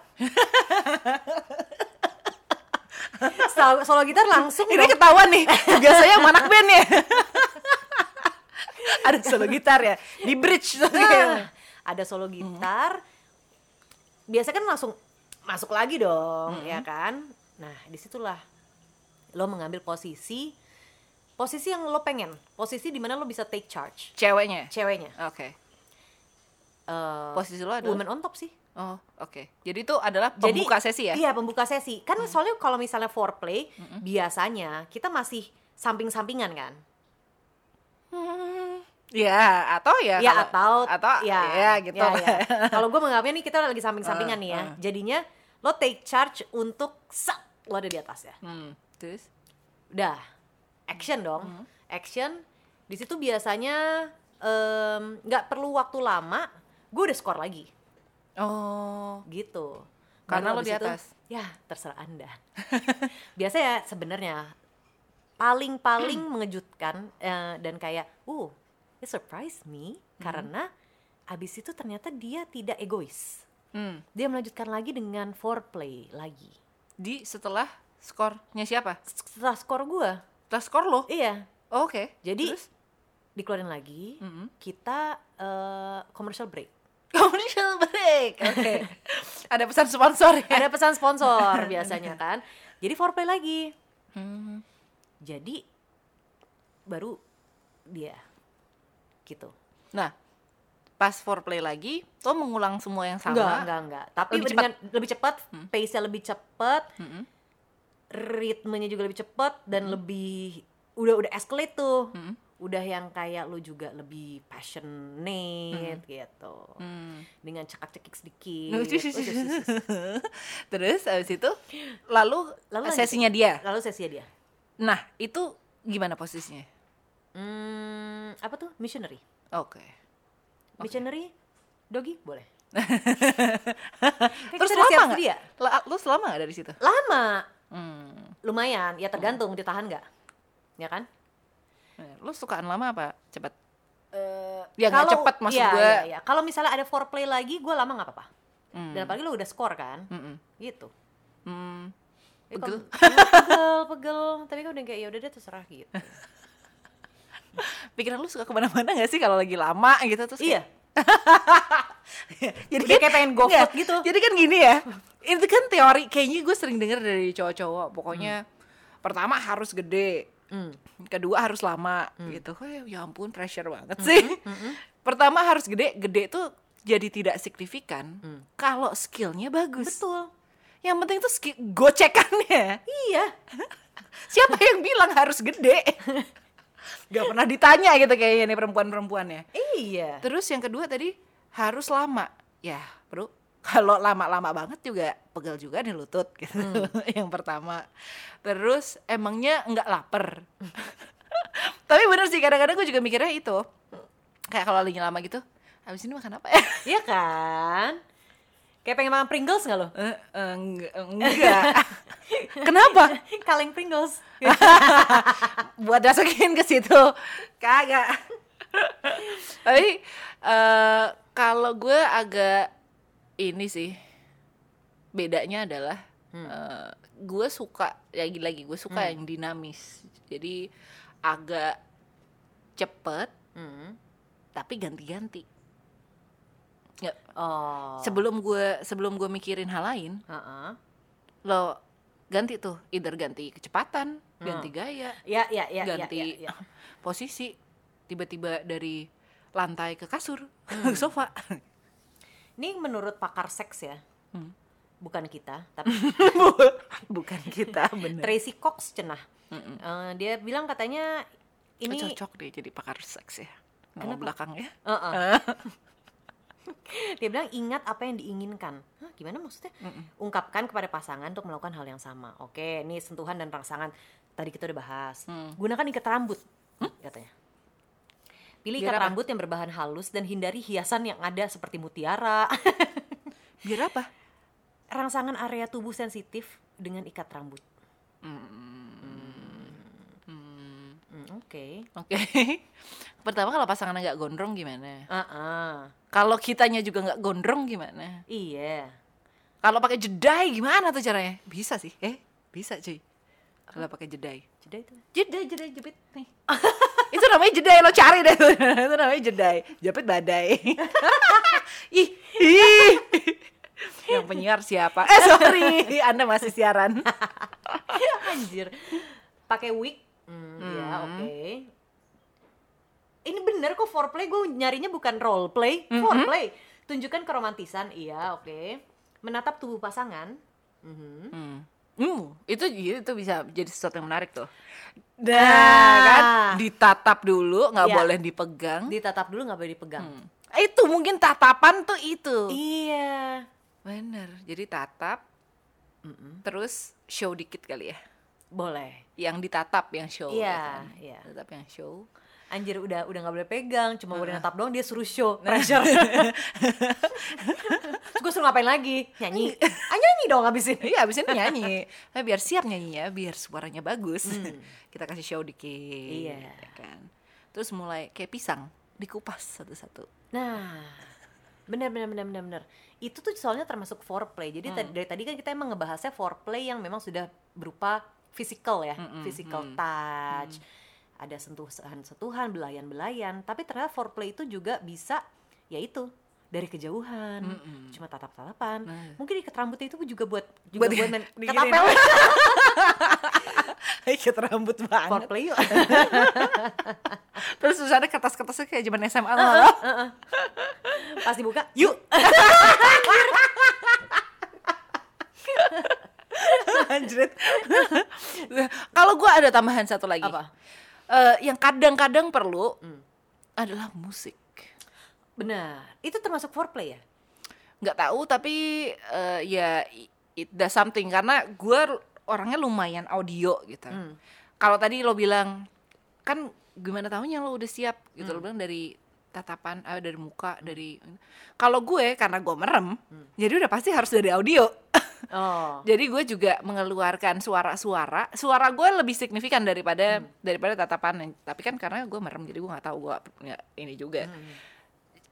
[SPEAKER 2] Solo- solo gitar langsung
[SPEAKER 1] Ini
[SPEAKER 2] dong.
[SPEAKER 1] ketahuan nih, tugas saya sama anak band ya. Ada solo gitar ya, di bridge. Iya.
[SPEAKER 2] Nah, ada solo gitar. Biasanya kan langsung masuk lagi dong, ya kan? Nah, disitulah lo mengambil posisi posisi yang lo pengen, posisi di mana lo bisa take charge.
[SPEAKER 1] Ceweknya.
[SPEAKER 2] Ceweknya,
[SPEAKER 1] Oke.
[SPEAKER 2] eh,
[SPEAKER 1] Posisi lo adalah
[SPEAKER 2] woman on top sih.
[SPEAKER 1] Oh, oke. Jadi itu adalah pembuka sesi ya?
[SPEAKER 2] Iya, pembuka sesi. Kan soalnya kalau misalnya foreplay biasanya kita masih samping-sampingan kan.
[SPEAKER 1] Iya, atau ya
[SPEAKER 2] Iya
[SPEAKER 1] kalau-
[SPEAKER 2] atau
[SPEAKER 1] atau ya,
[SPEAKER 2] ya,
[SPEAKER 1] gitu.
[SPEAKER 2] ya. Kalau gue menganggapnya nih kita lagi samping-sampingan nih ya.
[SPEAKER 1] Eh,
[SPEAKER 2] Jadinya lo take charge untuk sak lo ada di atas ya.
[SPEAKER 1] Hmm, terus
[SPEAKER 2] Udah. Action dong. Action. Di situ biasanya em, nggak perlu waktu lama, gue udah skor lagi
[SPEAKER 1] oh,
[SPEAKER 2] gitu.
[SPEAKER 1] Karena
[SPEAKER 2] Baru
[SPEAKER 1] lo di
[SPEAKER 2] abis itu,
[SPEAKER 1] atas.
[SPEAKER 2] ya, terserah Anda. Biasa ya sebenarnya paling-paling mengejutkan eh, dan kayak, "Uh, it surprised me"
[SPEAKER 1] Hmm.
[SPEAKER 2] karena abis itu ternyata dia tidak egois.
[SPEAKER 1] hmm.
[SPEAKER 2] Dia melanjutkan lagi dengan foreplay lagi.
[SPEAKER 1] di setelah skornya siapa?
[SPEAKER 2] Setelah skor gua,
[SPEAKER 1] Setelah skor lo.
[SPEAKER 2] iya,
[SPEAKER 1] Oh, oke.
[SPEAKER 2] Jadi-
[SPEAKER 1] terus Hmm.
[SPEAKER 2] dikeluarin lagi.
[SPEAKER 1] Mm-mm.
[SPEAKER 2] Kita eh, commercial break.
[SPEAKER 1] commercial break. Oke. Ada pesan sponsor ya.
[SPEAKER 2] Ada pesan sponsor biasanya kan. Jadi foreplay lagi.
[SPEAKER 1] Hmm.
[SPEAKER 2] jadi baru dia gitu
[SPEAKER 1] Nah, pas foreplay lagi, lo mengulang semua yang sama.
[SPEAKER 2] enggak enggak enggak tapi
[SPEAKER 1] Lebih Hmm.
[SPEAKER 2] dengan lebih cepat pace nya lebih cepat ritmenya juga lebih cepat dan
[SPEAKER 1] Hmm.
[SPEAKER 2] lebih udah udah escalate tuh
[SPEAKER 1] Mm-mm.
[SPEAKER 2] udah yang kayak lu juga lebih passionate gitu
[SPEAKER 1] Hmm. Oh,
[SPEAKER 2] dengan cekak-cekik sedikit
[SPEAKER 1] Terus abis itu lalu
[SPEAKER 2] Lalu lanjut.
[SPEAKER 1] sesinya dia.
[SPEAKER 2] lalu sesi dia
[SPEAKER 1] Nah, itu gimana posisinya?
[SPEAKER 2] hmm, apa tuh missionary
[SPEAKER 1] Oke.
[SPEAKER 2] missionary doggy boleh Kan
[SPEAKER 1] Terus
[SPEAKER 2] kita udah siap
[SPEAKER 1] lama nggak?
[SPEAKER 2] sedia.
[SPEAKER 1] La- Lu selama nggak dari situ?
[SPEAKER 2] lama
[SPEAKER 1] Hmm.
[SPEAKER 2] lumayan ya tergantung ditahan nggak ya kan
[SPEAKER 1] bener. Lu sukaan lama apa cepat?
[SPEAKER 2] Eh,
[SPEAKER 1] Ya, nggak
[SPEAKER 2] kalau-
[SPEAKER 1] cepet maksud
[SPEAKER 2] iya,
[SPEAKER 1] gue.
[SPEAKER 2] iya, iya. Kalau misalnya ada foreplay lagi, gue lama nggak apa-apa.
[SPEAKER 1] Hmm.
[SPEAKER 2] Dan apalagi lo udah skor kan,
[SPEAKER 1] Mm-mm.
[SPEAKER 2] gitu.
[SPEAKER 1] Hmm.
[SPEAKER 2] Ya, kalau-
[SPEAKER 1] Pegel.
[SPEAKER 2] iya, pegel, pegel. Tapi kan udah kayak ya udah deh terserah gitu.
[SPEAKER 1] Pikiran lu suka kemana-mana gak sih kalau lagi lama gitu terus?
[SPEAKER 2] iya.
[SPEAKER 1] jadi
[SPEAKER 2] Udah kayak pengen go
[SPEAKER 1] Nggak,
[SPEAKER 2] food gitu.
[SPEAKER 1] Jadi kan gini ya, itu kan teori kayaknya gue sering denger dari cowok-cowok. Pokoknya pertama harus gede,
[SPEAKER 2] Hmm.
[SPEAKER 1] kedua harus lama gitu. Eh, ya ampun pressure banget
[SPEAKER 2] Hmm,
[SPEAKER 1] sih. Pertama harus gede, gede tuh jadi tidak signifikan kalau skillnya bagus.
[SPEAKER 2] Hmm. Betul.
[SPEAKER 1] Yang penting tuh skill gocekannya.
[SPEAKER 2] Iya.
[SPEAKER 1] Siapa yang bilang harus gede? Gak pernah ditanya gitu kayaknya nih perempuan-perempuannya.
[SPEAKER 2] Iya.
[SPEAKER 1] Terus yang kedua tadi harus lama. Ya, Bro. Kalau lama-lama banget juga pegal juga nih lutut gitu. yang pertama. Terus emangnya nggak lapar. Tapi bener sih kadang-kadang gue juga mikirnya itu. Kayak kalau lagi lama gitu, habis ini makan apa ya?
[SPEAKER 2] Iya kan? Kayak pengen makan Pringles nggak lo?
[SPEAKER 1] Eh, eh, nggak- enggak. Kenapa?
[SPEAKER 2] Kaleng Pringles.
[SPEAKER 1] buat masukin ke situ kagak tapi eh, kalau gue agak ini sih bedanya adalah eh, gue suka lagi-lagi gue suka yang dinamis jadi agak cepet
[SPEAKER 2] Hmm.
[SPEAKER 1] tapi ganti-ganti Nggak-
[SPEAKER 2] Oh.
[SPEAKER 1] sebelum gue sebelum gue mikirin hal lain
[SPEAKER 2] Heeh.
[SPEAKER 1] lo ganti tuh either ganti kecepatan ganti gaya
[SPEAKER 2] Ya, ya, ya, ya,
[SPEAKER 1] ganti
[SPEAKER 2] ya, ya.
[SPEAKER 1] posisi tiba-tiba dari lantai ke kasur ke sofa
[SPEAKER 2] Ini menurut pakar seks ya.
[SPEAKER 1] Hmm.
[SPEAKER 2] Bukan kita, tapi
[SPEAKER 1] bukan kita bener
[SPEAKER 2] Tracy Cox cenah. Eh, dia bilang katanya
[SPEAKER 1] ini
[SPEAKER 2] ini
[SPEAKER 1] cocok deh jadi pakar seks ya nama
[SPEAKER 2] Kenapa?
[SPEAKER 1] belakangnya
[SPEAKER 2] Uh-uh.
[SPEAKER 1] Eh.
[SPEAKER 2] dia bilang ingat apa yang diinginkan. Hah, gimana maksudnya? Ungkapkan kepada pasangan untuk melakukan hal yang sama. Oke, ini sentuhan dan rangsangan tadi kita udah bahas.
[SPEAKER 1] Hmm.
[SPEAKER 2] Gunakan ikat rambut, katanya. Pilih
[SPEAKER 1] Biar
[SPEAKER 2] ikat
[SPEAKER 1] apa?
[SPEAKER 2] rambut yang berbahan halus dan hindari hiasan yang ada seperti mutiara.
[SPEAKER 1] biar apa
[SPEAKER 2] rangsangan area tubuh sensitif dengan ikat rambut.
[SPEAKER 1] Hmm,
[SPEAKER 2] Hmm, Oke.
[SPEAKER 1] oke pertama kalau pasangan nggak gondrong gimana
[SPEAKER 2] Ah-ah.
[SPEAKER 1] kalau kitanya juga nggak gondrong gimana
[SPEAKER 2] Iya.
[SPEAKER 1] kalau pakai jedai gimana tuh caranya bisa sih eh bisa cuy kalau pakai jedai
[SPEAKER 2] Jeda itu.
[SPEAKER 1] jedai jedai jepit nih itu namanya jedai lo cari deh itu namanya jedai jepit badai ih ih yang penyiar siapa eh sorry anda masih siaran
[SPEAKER 2] Anjir. Pakai wig. Hmm, ya, oke. Ini bener kok foreplay gue nyarinya bukan role play, foreplay. Tunjukkan keromantisan, iya, oke. Menatap tubuh pasangan. Mhm.
[SPEAKER 1] Hmm. Hmm, itu itu bisa jadi sesuatu yang menarik tuh. Nah, Ya. kan
[SPEAKER 2] Ah.
[SPEAKER 1] ditatap dulu, nggak
[SPEAKER 2] Iya.
[SPEAKER 1] boleh dipegang.
[SPEAKER 2] Ditatap dulu nggak boleh dipegang.
[SPEAKER 1] Hmm. Itu mungkin tatapan tuh itu.
[SPEAKER 2] Iya.
[SPEAKER 1] Bener. Jadi tatap, terus show dikit kali ya.
[SPEAKER 2] Boleh.
[SPEAKER 1] Yang ditatap yang show. ya
[SPEAKER 2] Iya,
[SPEAKER 1] kan?
[SPEAKER 2] iya.
[SPEAKER 1] Tatap yang show.
[SPEAKER 2] Anjir udah udah nggak boleh pegang, cuma boleh natap doang dia suruh show. Pressure. gue suruh ngapain lagi? Nyanyi. Ah nyanyi dong abisin.
[SPEAKER 1] Iya, abis ini nyanyi. Nah, biar siap nyanyi ya, biar suaranya bagus. Kita kasih show dikit.
[SPEAKER 2] Hmm. Iya.
[SPEAKER 1] ya kan. Terus mulai kayak pisang, dikupas satu-satu.
[SPEAKER 2] Nah, benar benar benar benar benar. Itu tuh soalnya termasuk foreplay. Jadi tadi- dari tadi kan kita emang ngebahasnya foreplay yang memang sudah berupa physical ya, physical touch. Ada sentuhan-sentuhan, belayan-belayan. Tapi ternyata foreplay itu juga bisa yaitu dari kejauhan, cuma tatap-tatapan.
[SPEAKER 1] Nah.
[SPEAKER 2] Mungkin ikat rambutnya itu juga buat juga buat,
[SPEAKER 1] Buat-
[SPEAKER 2] main
[SPEAKER 1] diginiin.
[SPEAKER 2] ketapel.
[SPEAKER 1] Ikat rambut banget.
[SPEAKER 2] foreplay yuk.
[SPEAKER 1] Terus terus ada kertas-kertasnya kayak zaman SMA loh.
[SPEAKER 2] Pas dibuka,
[SPEAKER 1] Yuk. Anjrit. Kalau gue ada tambahan satu lagi.
[SPEAKER 2] Apa? Hmm.
[SPEAKER 1] Eh, yang kadang-kadang perlu adalah musik.
[SPEAKER 2] benar. Itu termasuk foreplay ya?
[SPEAKER 1] Nggak tahu tapi eh, ya i- it does something karena gue orangnya lumayan audio gitu. Kalau tadi lo bilang kan gimana tahunya lo udah siap gitu lo bilang dari tatapan ah, dari muka dari kalau gue karena gue merem jadi udah pasti harus dari audio
[SPEAKER 2] Oh.
[SPEAKER 1] Jadi gue juga mengeluarkan suara-suara. Suara gue lebih signifikan daripada daripada tatapan. Tapi kan karena gue merem jadi gue nggak tahu gue nggak- ini juga.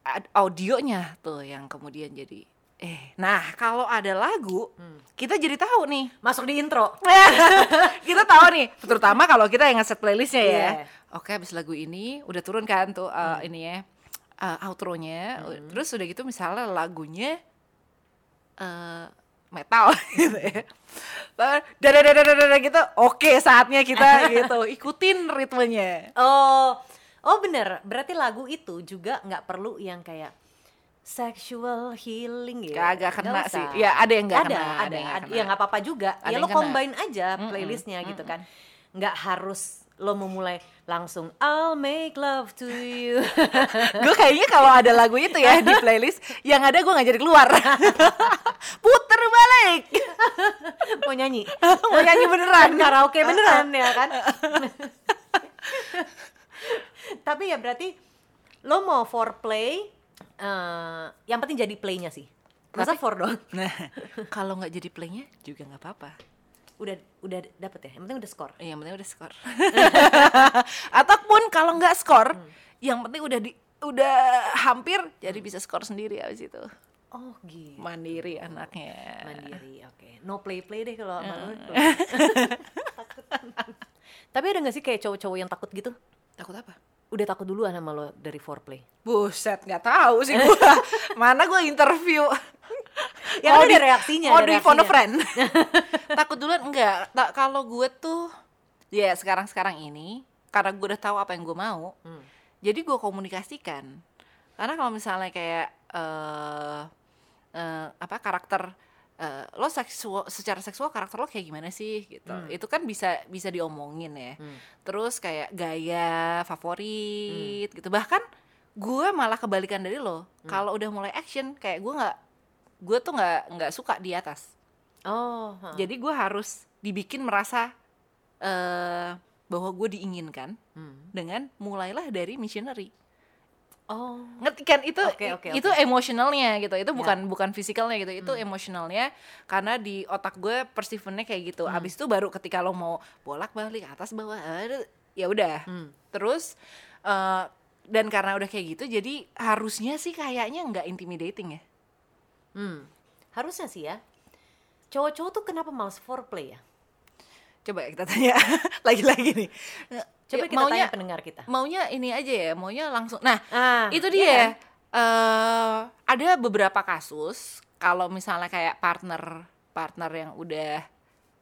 [SPEAKER 1] Ad- Audionya tuh yang kemudian jadi eh. Nah kalau ada lagu kita jadi tahu nih.
[SPEAKER 2] Masuk di intro.
[SPEAKER 1] kita tahu nih. Terutama kalau kita yang ngeset playlistnya ya.
[SPEAKER 2] Iya. Hmm.
[SPEAKER 1] Oke abis lagu ini udah turun kan tuh eh, ini ya eh, outro-nya. Terus udah gitu misalnya lagunya eh metal gitu ya. Dadadadadadada gitu, oke saatnya kita gitu ikutin ritmenya.
[SPEAKER 2] Oh, oh bener. Berarti lagu itu juga nggak perlu yang kayak sexual healing gitu.
[SPEAKER 1] Nggak- nggak kena sih. Ya, ada yang nggak
[SPEAKER 2] ada,
[SPEAKER 1] kena,
[SPEAKER 2] Ada,
[SPEAKER 1] ada yang nggak
[SPEAKER 2] ada.
[SPEAKER 1] kena.
[SPEAKER 2] Ya nggak apa-apa juga. ya
[SPEAKER 1] Ada yang
[SPEAKER 2] lo
[SPEAKER 1] kena.
[SPEAKER 2] combine aja playlistnya gitu kan. Nggak harus lo memulai langsung I'll make love to you.
[SPEAKER 1] Gue kayaknya kalau ada lagu itu ya di playlist, yang ada gue nggak jadi keluar. Puter balik,
[SPEAKER 2] Mau nyanyi?
[SPEAKER 1] mau nyanyi beneran.
[SPEAKER 2] Karaoke beneran ya kan? Tapi ya berarti lo mau foreplay, eh yang penting jadi playnya sih. Masa for dong?
[SPEAKER 1] Nah, kalau nggak jadi playnya juga nggak apa-apa.
[SPEAKER 2] udah udah dapet ya yang penting udah skor
[SPEAKER 1] Yang penting udah skor. Ataupun kalau nggak skor, yang penting udah di udah hampir jadi bisa skor sendiri abis itu
[SPEAKER 2] oh
[SPEAKER 1] Iya.
[SPEAKER 2] gitu
[SPEAKER 1] mandiri anaknya
[SPEAKER 2] mandiri oke no play play deh kalau sama lu. Takut. Eh. tapi ada nggak sih kayak cowok-cowok yang takut gitu
[SPEAKER 1] takut apa
[SPEAKER 2] udah takut duluan sama lo dari foreplay
[SPEAKER 1] Buset, nggak tahu sih gua. Mana gua interview.
[SPEAKER 2] Ya,
[SPEAKER 1] Mau
[SPEAKER 2] kan ada reaksinya,
[SPEAKER 1] Mau
[SPEAKER 2] ada
[SPEAKER 1] di phone a
[SPEAKER 2] reaksinya.
[SPEAKER 1] friend. Takut duluan enggak. Ta- kalau gue tuh ya sekarang-sekarang ini karena gue udah tahu apa yang gue mau. Jadi gue komunikasikan. Karena kalau misalnya kayak eh eh, apa karakter eh, lo seksual secara seksual karakter lo kayak gimana sih gitu. Itu kan bisa bisa diomongin ya terus kayak gaya favorit gitu bahkan gue malah kebalikan dari lo kalau udah mulai action kayak gue nggak gue tuh nggak nggak suka di atas
[SPEAKER 2] oh ha.
[SPEAKER 1] jadi gue harus dibikin merasa eh bahwa gue diinginkan
[SPEAKER 2] Hmm.
[SPEAKER 1] dengan mulailah dari missionary
[SPEAKER 2] oh
[SPEAKER 1] ngerti kan itu
[SPEAKER 2] Oke, oke, Ya. Hmm.
[SPEAKER 1] itu emosionalnya gitu itu bukan bukan fisikalnya gitu itu emosionalnya karena di otak gue persifennya kayak
[SPEAKER 2] Hmm.
[SPEAKER 1] gitu abis itu baru ketika lo mau bolak balik atas bawah aduh, ya udah
[SPEAKER 2] Hmm.
[SPEAKER 1] terus eh, dan karena udah kayak gitu jadi harusnya sih kayaknya nggak intimidating ya
[SPEAKER 2] hmm. harusnya sih ya cowok-cowok tuh kenapa males foreplay ya
[SPEAKER 1] coba ya kita tanya lagi-lagi nih
[SPEAKER 2] coba
[SPEAKER 1] Ya,
[SPEAKER 2] kita
[SPEAKER 1] maunya
[SPEAKER 2] tanya pendengar kita
[SPEAKER 1] maunya ini aja ya maunya langsung nah
[SPEAKER 2] ah
[SPEAKER 1] itu
[SPEAKER 2] iya
[SPEAKER 1] dia eh ada beberapa kasus kalau misalnya kayak partner partner yang udah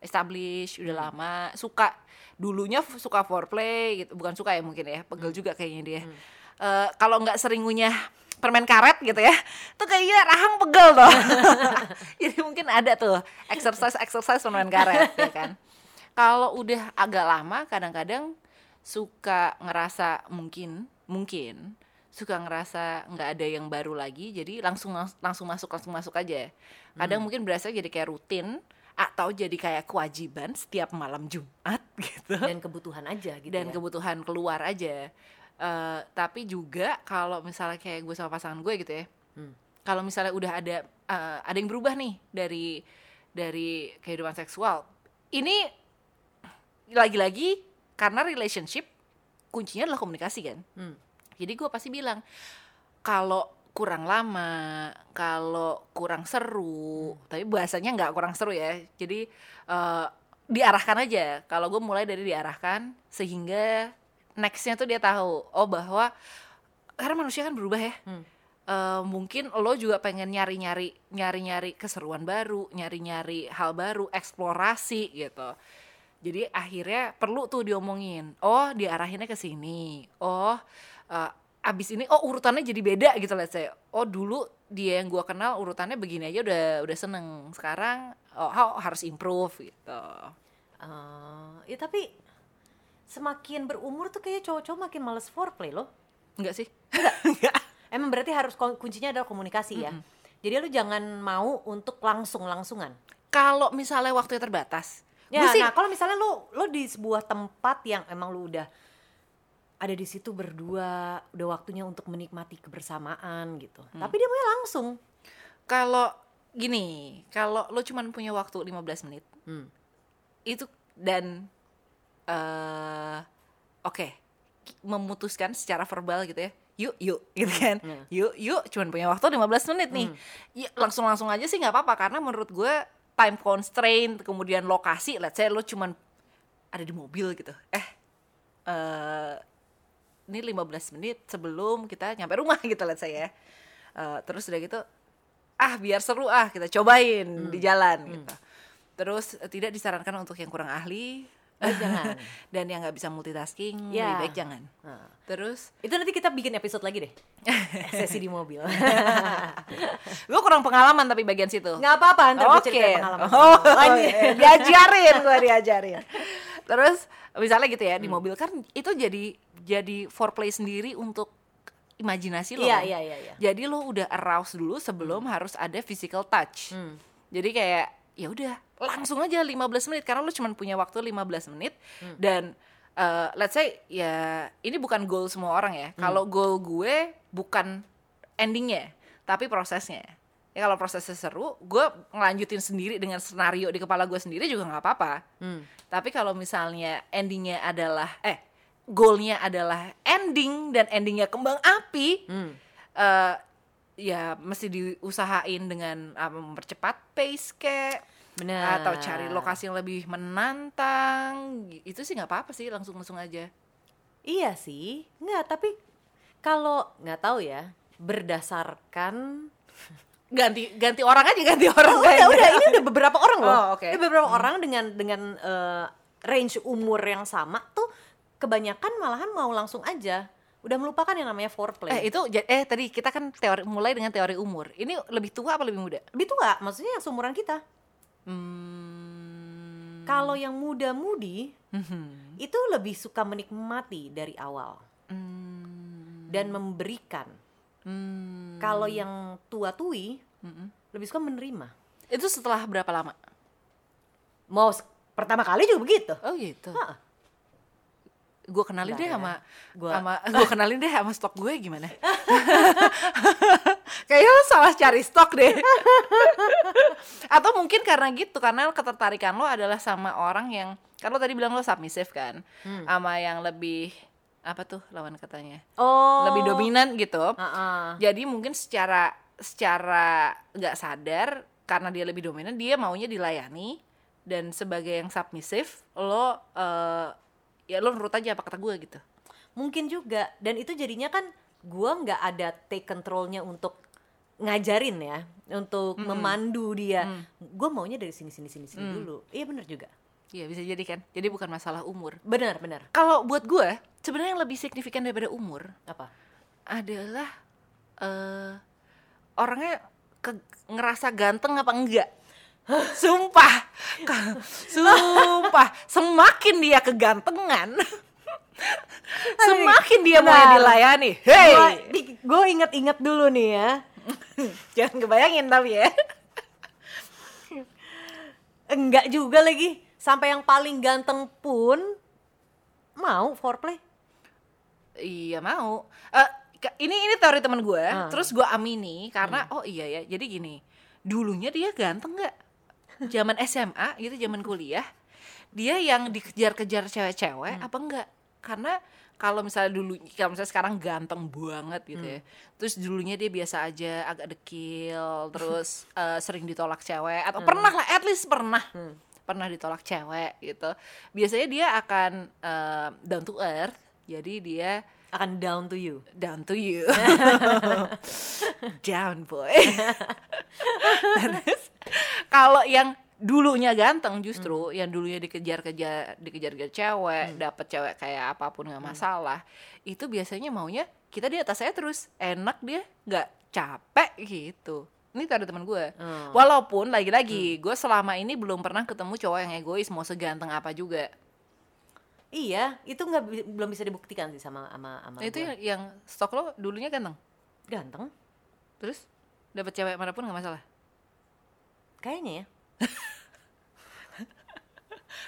[SPEAKER 1] established
[SPEAKER 2] Hmm.
[SPEAKER 1] udah lama suka dulunya f- suka foreplay gitu bukan suka ya mungkin ya pegel
[SPEAKER 2] Hmm.
[SPEAKER 1] juga kayaknya dia Eh, kalau nggak sering ngunyah permen karet gitu ya tuh kayaknya rahang pegel tuh jadi mungkin ada tuh exercise exercise permen karet ya kan kalau udah agak lama kadang-kadang suka ngerasa mungkin mungkin suka ngerasa nggak ada yang baru lagi jadi langsung langsung masuk langsung masuk aja kadang mungkin berasa jadi kayak rutin atau jadi kayak kewajiban setiap malam Jumat gitu
[SPEAKER 2] dan kebutuhan aja gitu ya.
[SPEAKER 1] dan kebutuhan keluar aja Eh, tapi juga kalau misalnya kayak gue sama pasangan gue gitu ya
[SPEAKER 2] Hmm.
[SPEAKER 1] kalau misalnya udah ada eh, ada yang berubah nih dari dari kehidupan seksual ini lagi-lagi karena relationship kuncinya adalah komunikasi kan
[SPEAKER 2] Hmm.
[SPEAKER 1] jadi gue pasti bilang kalau kurang lama, kalau kurang seru, tapi bahasanya nggak kurang seru ya. Jadi eh, diarahkan aja. Kalau gue mulai dari diarahkan sehingga nextnya tuh dia tahu oh bahwa karena manusia kan berubah ya.
[SPEAKER 2] Hmm.
[SPEAKER 1] Eh, mungkin lo juga pengen nyari-nyari nyari-nyari keseruan baru, nyari-nyari hal baru, eksplorasi gitu. Jadi akhirnya perlu tuh diomongin. Oh, diarahinnya ke sini. Oh, eh, abis ini oh urutannya jadi beda gitu lah saya. Oh, dulu dia yang gua kenal urutannya begini aja udah udah seneng. Sekarang oh ha- harus improve gitu.
[SPEAKER 2] Eh, ya tapi semakin berumur tuh kayak cowok-cowok makin males foreplay loh
[SPEAKER 1] Enggak sih?
[SPEAKER 2] emang berarti harus kon- kuncinya adalah komunikasi ya jadi lu jangan mau untuk langsung langsungan
[SPEAKER 1] Kalau misalnya waktunya terbatas.
[SPEAKER 2] ya
[SPEAKER 1] gua sih
[SPEAKER 2] nah kalau misalnya lu lu di sebuah tempat yang emang lu udah ada di situ berdua udah waktunya untuk menikmati kebersamaan gitu
[SPEAKER 1] Mm.
[SPEAKER 2] tapi dia mau langsung
[SPEAKER 1] kalau gini, kalau lo cuman punya waktu 15 menit
[SPEAKER 2] Hmm.
[SPEAKER 1] itu dan eh oke ki- memutuskan secara verbal gitu ya yuk yuk gitu kan
[SPEAKER 2] Hmm.
[SPEAKER 1] yuk yuk cuman punya waktu 15 menit nih Ya, langsung langsung aja sih nggak apa-apa karena menurut gue time constraint kemudian lokasi let's say lo cuman ada di mobil gitu eh eh ini 15 menit sebelum kita nyampe rumah gitu let's say ya Eh, terus udah gitu ah biar seru ah kita cobain di jalan gitu terus eh, tidak disarankan untuk yang kurang ahli
[SPEAKER 2] Oh,
[SPEAKER 1] Iya.
[SPEAKER 2] jangan.
[SPEAKER 1] dan yang nggak bisa multitasking
[SPEAKER 2] Ya.
[SPEAKER 1] lebih baik jangan
[SPEAKER 2] Nah,
[SPEAKER 1] terus
[SPEAKER 2] itu nanti kita bikin episode lagi deh sesi di mobil
[SPEAKER 1] gue kurang pengalaman tapi bagian situ
[SPEAKER 2] nggak apa-apa ntar gue
[SPEAKER 1] Oke.
[SPEAKER 2] ceritain pengalaman
[SPEAKER 1] Oh,
[SPEAKER 2] gue. Lanjut.
[SPEAKER 1] iya. diajarin gue diajarin. Terus misalnya gitu ya di mobil kan itu jadi jadi foreplay sendiri untuk imajinasi lo.
[SPEAKER 2] Iya,
[SPEAKER 1] kan?
[SPEAKER 2] iya, iya, iya. Hmm.
[SPEAKER 1] Jadi lo udah arouse dulu sebelum harus ada physical touch. Jadi kayak ya udah langsung aja 15 menit karena lo cuma punya waktu 15 menit
[SPEAKER 2] Hmm.
[SPEAKER 1] dan eh, let's say ya ini bukan goal semua orang ya.
[SPEAKER 2] Hmm.
[SPEAKER 1] Kalau goal gue bukan endingnya tapi prosesnya. Ya kalau prosesnya seru, gue ngelanjutin sendiri dengan senario di kepala gue sendiri juga nggak apa-apa.
[SPEAKER 2] Hmm.
[SPEAKER 1] Tapi kalau misalnya endingnya adalah eh goalnya adalah ending dan endingnya kembang api,
[SPEAKER 2] Hmm.
[SPEAKER 1] eh, ya mesti diusahain dengan apa, mempercepat pace kayak
[SPEAKER 2] Benar.
[SPEAKER 1] atau cari lokasi yang lebih menantang itu sih nggak apa-apa sih langsung langsung aja
[SPEAKER 2] Iya sih, nggak tapi kalau nggak tahu ya berdasarkan
[SPEAKER 1] ganti ganti orang aja ganti
[SPEAKER 2] Oh,
[SPEAKER 1] orang kayaknya.
[SPEAKER 2] udah udah ini udah beberapa orang loh,
[SPEAKER 1] iya. Oh, oke.
[SPEAKER 2] Ini beberapa orang dengan dengan eh, range umur yang sama tuh kebanyakan malahan mau langsung aja, udah melupakan yang namanya
[SPEAKER 1] eh
[SPEAKER 2] foreplay.
[SPEAKER 1] itu ja- eh tadi kita kan teori mulai dengan teori umur ini lebih tua apa lebih muda
[SPEAKER 2] Lebih tua, Gitu maksudnya yang seumuran kita.
[SPEAKER 1] Hmm.
[SPEAKER 2] Kalau yang muda-mudi
[SPEAKER 1] Mhm.
[SPEAKER 2] itu lebih suka menikmati dari awal
[SPEAKER 1] Hmm.
[SPEAKER 2] dan memberikan.
[SPEAKER 1] Hmm.
[SPEAKER 2] Kalau yang tua-tui
[SPEAKER 1] Mm-mm.
[SPEAKER 2] lebih suka menerima.
[SPEAKER 1] Itu setelah berapa lama?
[SPEAKER 2] Mau s- pertama kali juga begitu.
[SPEAKER 1] Oh gitu.
[SPEAKER 2] Ha-ah.
[SPEAKER 1] Gue kenalin
[SPEAKER 2] Nggak
[SPEAKER 1] deh
[SPEAKER 2] ada.
[SPEAKER 1] sama
[SPEAKER 2] Gua-
[SPEAKER 1] sama gue kenalin deh sama stok gue gimana? Kayaknya lo salah cari stok deh. Atau mungkin karena gitu karena ketertarikan lo adalah sama orang yang kan lo tadi bilang lo submissive kan, sama yang lebih apa tuh lawan katanya
[SPEAKER 2] Oh.
[SPEAKER 1] lebih dominan gitu.
[SPEAKER 2] Heeh.
[SPEAKER 1] Jadi mungkin secara secara nggak sadar karena dia lebih dominan dia maunya dilayani dan sebagai yang submisif lo eh, ya lo nurut aja apa kata gue gitu.
[SPEAKER 2] Mungkin juga dan itu jadinya kan gua nggak ada take controlnya untuk ngajarin ya untuk
[SPEAKER 1] Hmm.
[SPEAKER 2] memandu dia. Gue maunya dari sini sini sini sini dulu. Iya bener juga.
[SPEAKER 1] Iya bisa jadi kan. Jadi bukan masalah umur.
[SPEAKER 2] Benar benar.
[SPEAKER 1] Kalau buat gue, sebenarnya yang lebih signifikan daripada umur
[SPEAKER 2] Apa?
[SPEAKER 1] adalah eh orangnya ke- ngerasa ganteng apa enggak. Sumpah, Ka- sumpah, semakin dia kegantengan, semakin dia mau
[SPEAKER 2] Benar.
[SPEAKER 1] dilayani.
[SPEAKER 2] Gua
[SPEAKER 1] Hey,
[SPEAKER 2] di- Gue inget-inget dulu nih ya.
[SPEAKER 1] jangan kebayangin tapi ya.
[SPEAKER 2] Enggak juga lagi. Sampai yang paling ganteng pun mau foreplay.
[SPEAKER 1] Iya mau. Eh, ke- ini ini teori teman gue.
[SPEAKER 2] Ah.
[SPEAKER 1] Terus gue amini karena oh iya ya. Jadi gini, dulunya dia ganteng nggak? Zaman SMA gitu, zaman kuliah, dia yang dikejar-kejar cewek-cewek apa enggak? Karena kalau misalnya dulu, kalau misalnya sekarang ganteng banget gitu ya. Terus dulunya dia biasa aja, agak dekil, terus eh, sering ditolak cewek atau pernah lah, at least pernah. pernah ditolak cewek gitu. Biasanya dia akan eh, down to earth, jadi dia
[SPEAKER 2] Akan down to you.
[SPEAKER 1] down to you down boy Terus, kalau yang dulunya ganteng justru yang dulunya dikejar-kejar dikejar-kejar cewek dapet cewek kayak apapun nggak masalah itu biasanya maunya kita di atas saya terus enak dia nggak capek gitu ini tadi teman gue
[SPEAKER 2] Hmm.
[SPEAKER 1] walaupun lagi-lagi gue selama ini belum pernah ketemu cowok yang egois mau seganteng apa juga
[SPEAKER 2] Iya, itu nggak bi- belum bisa dibuktikan sih sama sama sama.
[SPEAKER 1] Nah, itu
[SPEAKER 2] gua.
[SPEAKER 1] yang, yang stok lo dulunya ganteng
[SPEAKER 2] ganteng,
[SPEAKER 1] terus dapat cewek manapun nggak masalah
[SPEAKER 2] kayaknya ya.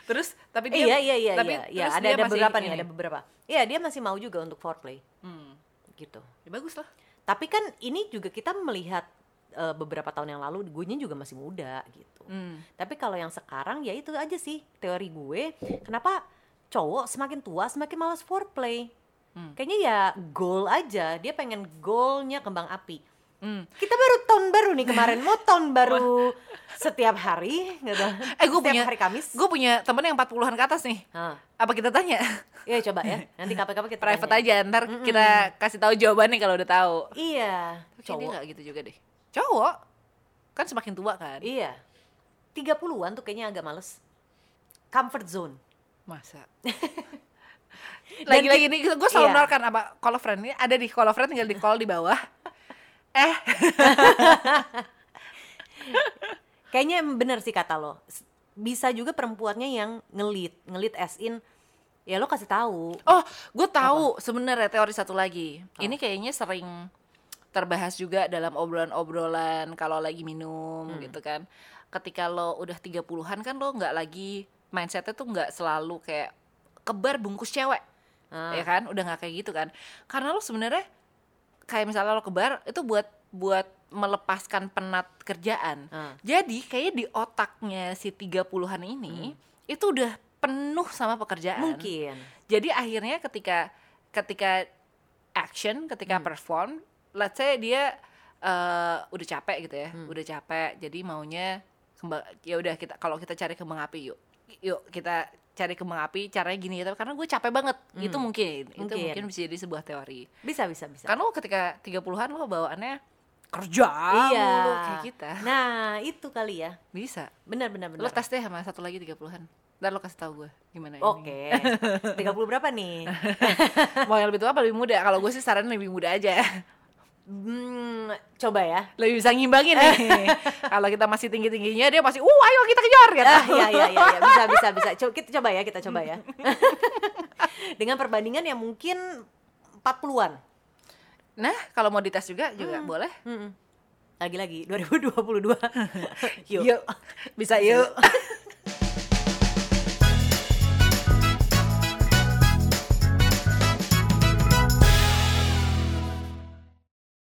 [SPEAKER 1] Terus tapi
[SPEAKER 2] Eh, iya
[SPEAKER 1] dia
[SPEAKER 2] iya iya
[SPEAKER 1] tapi
[SPEAKER 2] iya, iya.
[SPEAKER 1] terus
[SPEAKER 2] Ada
[SPEAKER 1] dia
[SPEAKER 2] ada
[SPEAKER 1] masih
[SPEAKER 2] beberapa nih,
[SPEAKER 1] ini.
[SPEAKER 2] ada beberapa. Iya dia masih mau juga untuk foreplay
[SPEAKER 1] Hmm.
[SPEAKER 2] gitu.
[SPEAKER 1] Ya bagus lah.
[SPEAKER 2] Tapi kan ini juga kita melihat eh, beberapa tahun yang lalu gue juga masih muda gitu. Tapi kalau yang sekarang ya itu aja sih teori gue. Kenapa cowok semakin tua semakin malas foreplay?
[SPEAKER 1] Hmm.
[SPEAKER 2] Kayaknya ya goal aja. Dia pengen goalnya kembang api.
[SPEAKER 1] Hmm.
[SPEAKER 2] Kita baru tahun baru nih kemarin. Mau tahun baru setiap hari, nggak tahu.
[SPEAKER 1] Eh, gue
[SPEAKER 2] setiap
[SPEAKER 1] punya-
[SPEAKER 2] hari Kamis.
[SPEAKER 1] Gue punya temen yang 40-an ke atas nih.
[SPEAKER 2] Hah.
[SPEAKER 1] Apa kita tanya?
[SPEAKER 2] Ya coba ya. Nanti kapan-kapan kita
[SPEAKER 1] Private
[SPEAKER 2] tanya. Hmm,
[SPEAKER 1] aja ntar kita kasih tahu jawabannya kalau udah tahu.
[SPEAKER 2] Iya,
[SPEAKER 1] Tapi dia
[SPEAKER 2] cowok.
[SPEAKER 1] nggak gitu juga deh. Cowok kan semakin tua kan.
[SPEAKER 2] Iya. 30-an tuh kayaknya agak males. Comfort zone.
[SPEAKER 1] Masa. Lagi-lagi ini gue selalu
[SPEAKER 2] Iya.
[SPEAKER 1] menawarkan apa call a friend ini ada di call a friend tinggal di call di bawah. Eh,
[SPEAKER 2] Kayaknya em- bener sih kata lo. S- Bisa juga perempuannya yang ngelit, ngelit as in ya lo kasih tahu.
[SPEAKER 1] oh, gue tahu sebenarnya teori satu lagi.
[SPEAKER 2] Oh.
[SPEAKER 1] Ini kayaknya sering terbahas juga dalam obrolan-obrolan kalau lagi
[SPEAKER 2] Hmm.
[SPEAKER 1] minum gitu kan. Ketika lo udah 30-an kan lo nggak lagi mindsetnya tuh nggak selalu kayak kebar bungkus cewek.
[SPEAKER 2] Ah.
[SPEAKER 1] Ya kan? Udah nggak kayak gitu kan. Karena lo sebenarnya kayak misalnya lo kebar itu buat buat melepaskan penat kerjaan.
[SPEAKER 2] Ah.
[SPEAKER 1] Jadi kayaknya di otaknya si 30-an ini itu udah penuh sama pekerjaan.
[SPEAKER 2] Hmm. Mungkin.
[SPEAKER 1] Jadi akhirnya ketika ketika action, ketika
[SPEAKER 2] Hmm.
[SPEAKER 1] perform, let's say dia eh, udah capek gitu ya,
[SPEAKER 2] Hmm.
[SPEAKER 1] udah capek. Jadi maunya kemba- ya udah kita kalau kita cari kembang api yuk. Yuk kita cari kembang api caranya gini gitu karena gue capek banget. Itu mungkin, itu
[SPEAKER 2] Hmm. Mungkin. Ya.
[SPEAKER 1] mungkin bisa jadi sebuah teori.
[SPEAKER 2] Bisa bisa bisa.
[SPEAKER 1] Karena lo ketika 30-an lo bawaannya kerja
[SPEAKER 2] iya.
[SPEAKER 1] mulu kayak kita.
[SPEAKER 2] Nah, itu kali ya.
[SPEAKER 1] Bisa.
[SPEAKER 2] Benar benar benar.
[SPEAKER 1] Lo tes deh sama satu lagi 30-an. Ntar lo kasih tahu gue gimana ini.
[SPEAKER 2] Oke. 30 berapa nih?
[SPEAKER 1] Mau yang lebih tua apa lebih muda? Kalau gue sih saran lebih muda aja.
[SPEAKER 2] Hmm, coba ya.
[SPEAKER 1] lebih bisa ngimbangin nih. Kalau kita masih tinggi-tingginya dia pasti, "Uh, ayo kita kejar." gitu.
[SPEAKER 2] Ah, ya, ya, ya, ya. bisa, bisa, bisa. Coba, kita coba ya, kita coba ya. Dengan perbandingan yang mungkin 40-an.
[SPEAKER 1] Nah, kalau mau dites juga juga boleh.
[SPEAKER 2] Hmm, Mm-mm. Lagi-lagi 2022. Yuk.
[SPEAKER 1] Bisa yuk.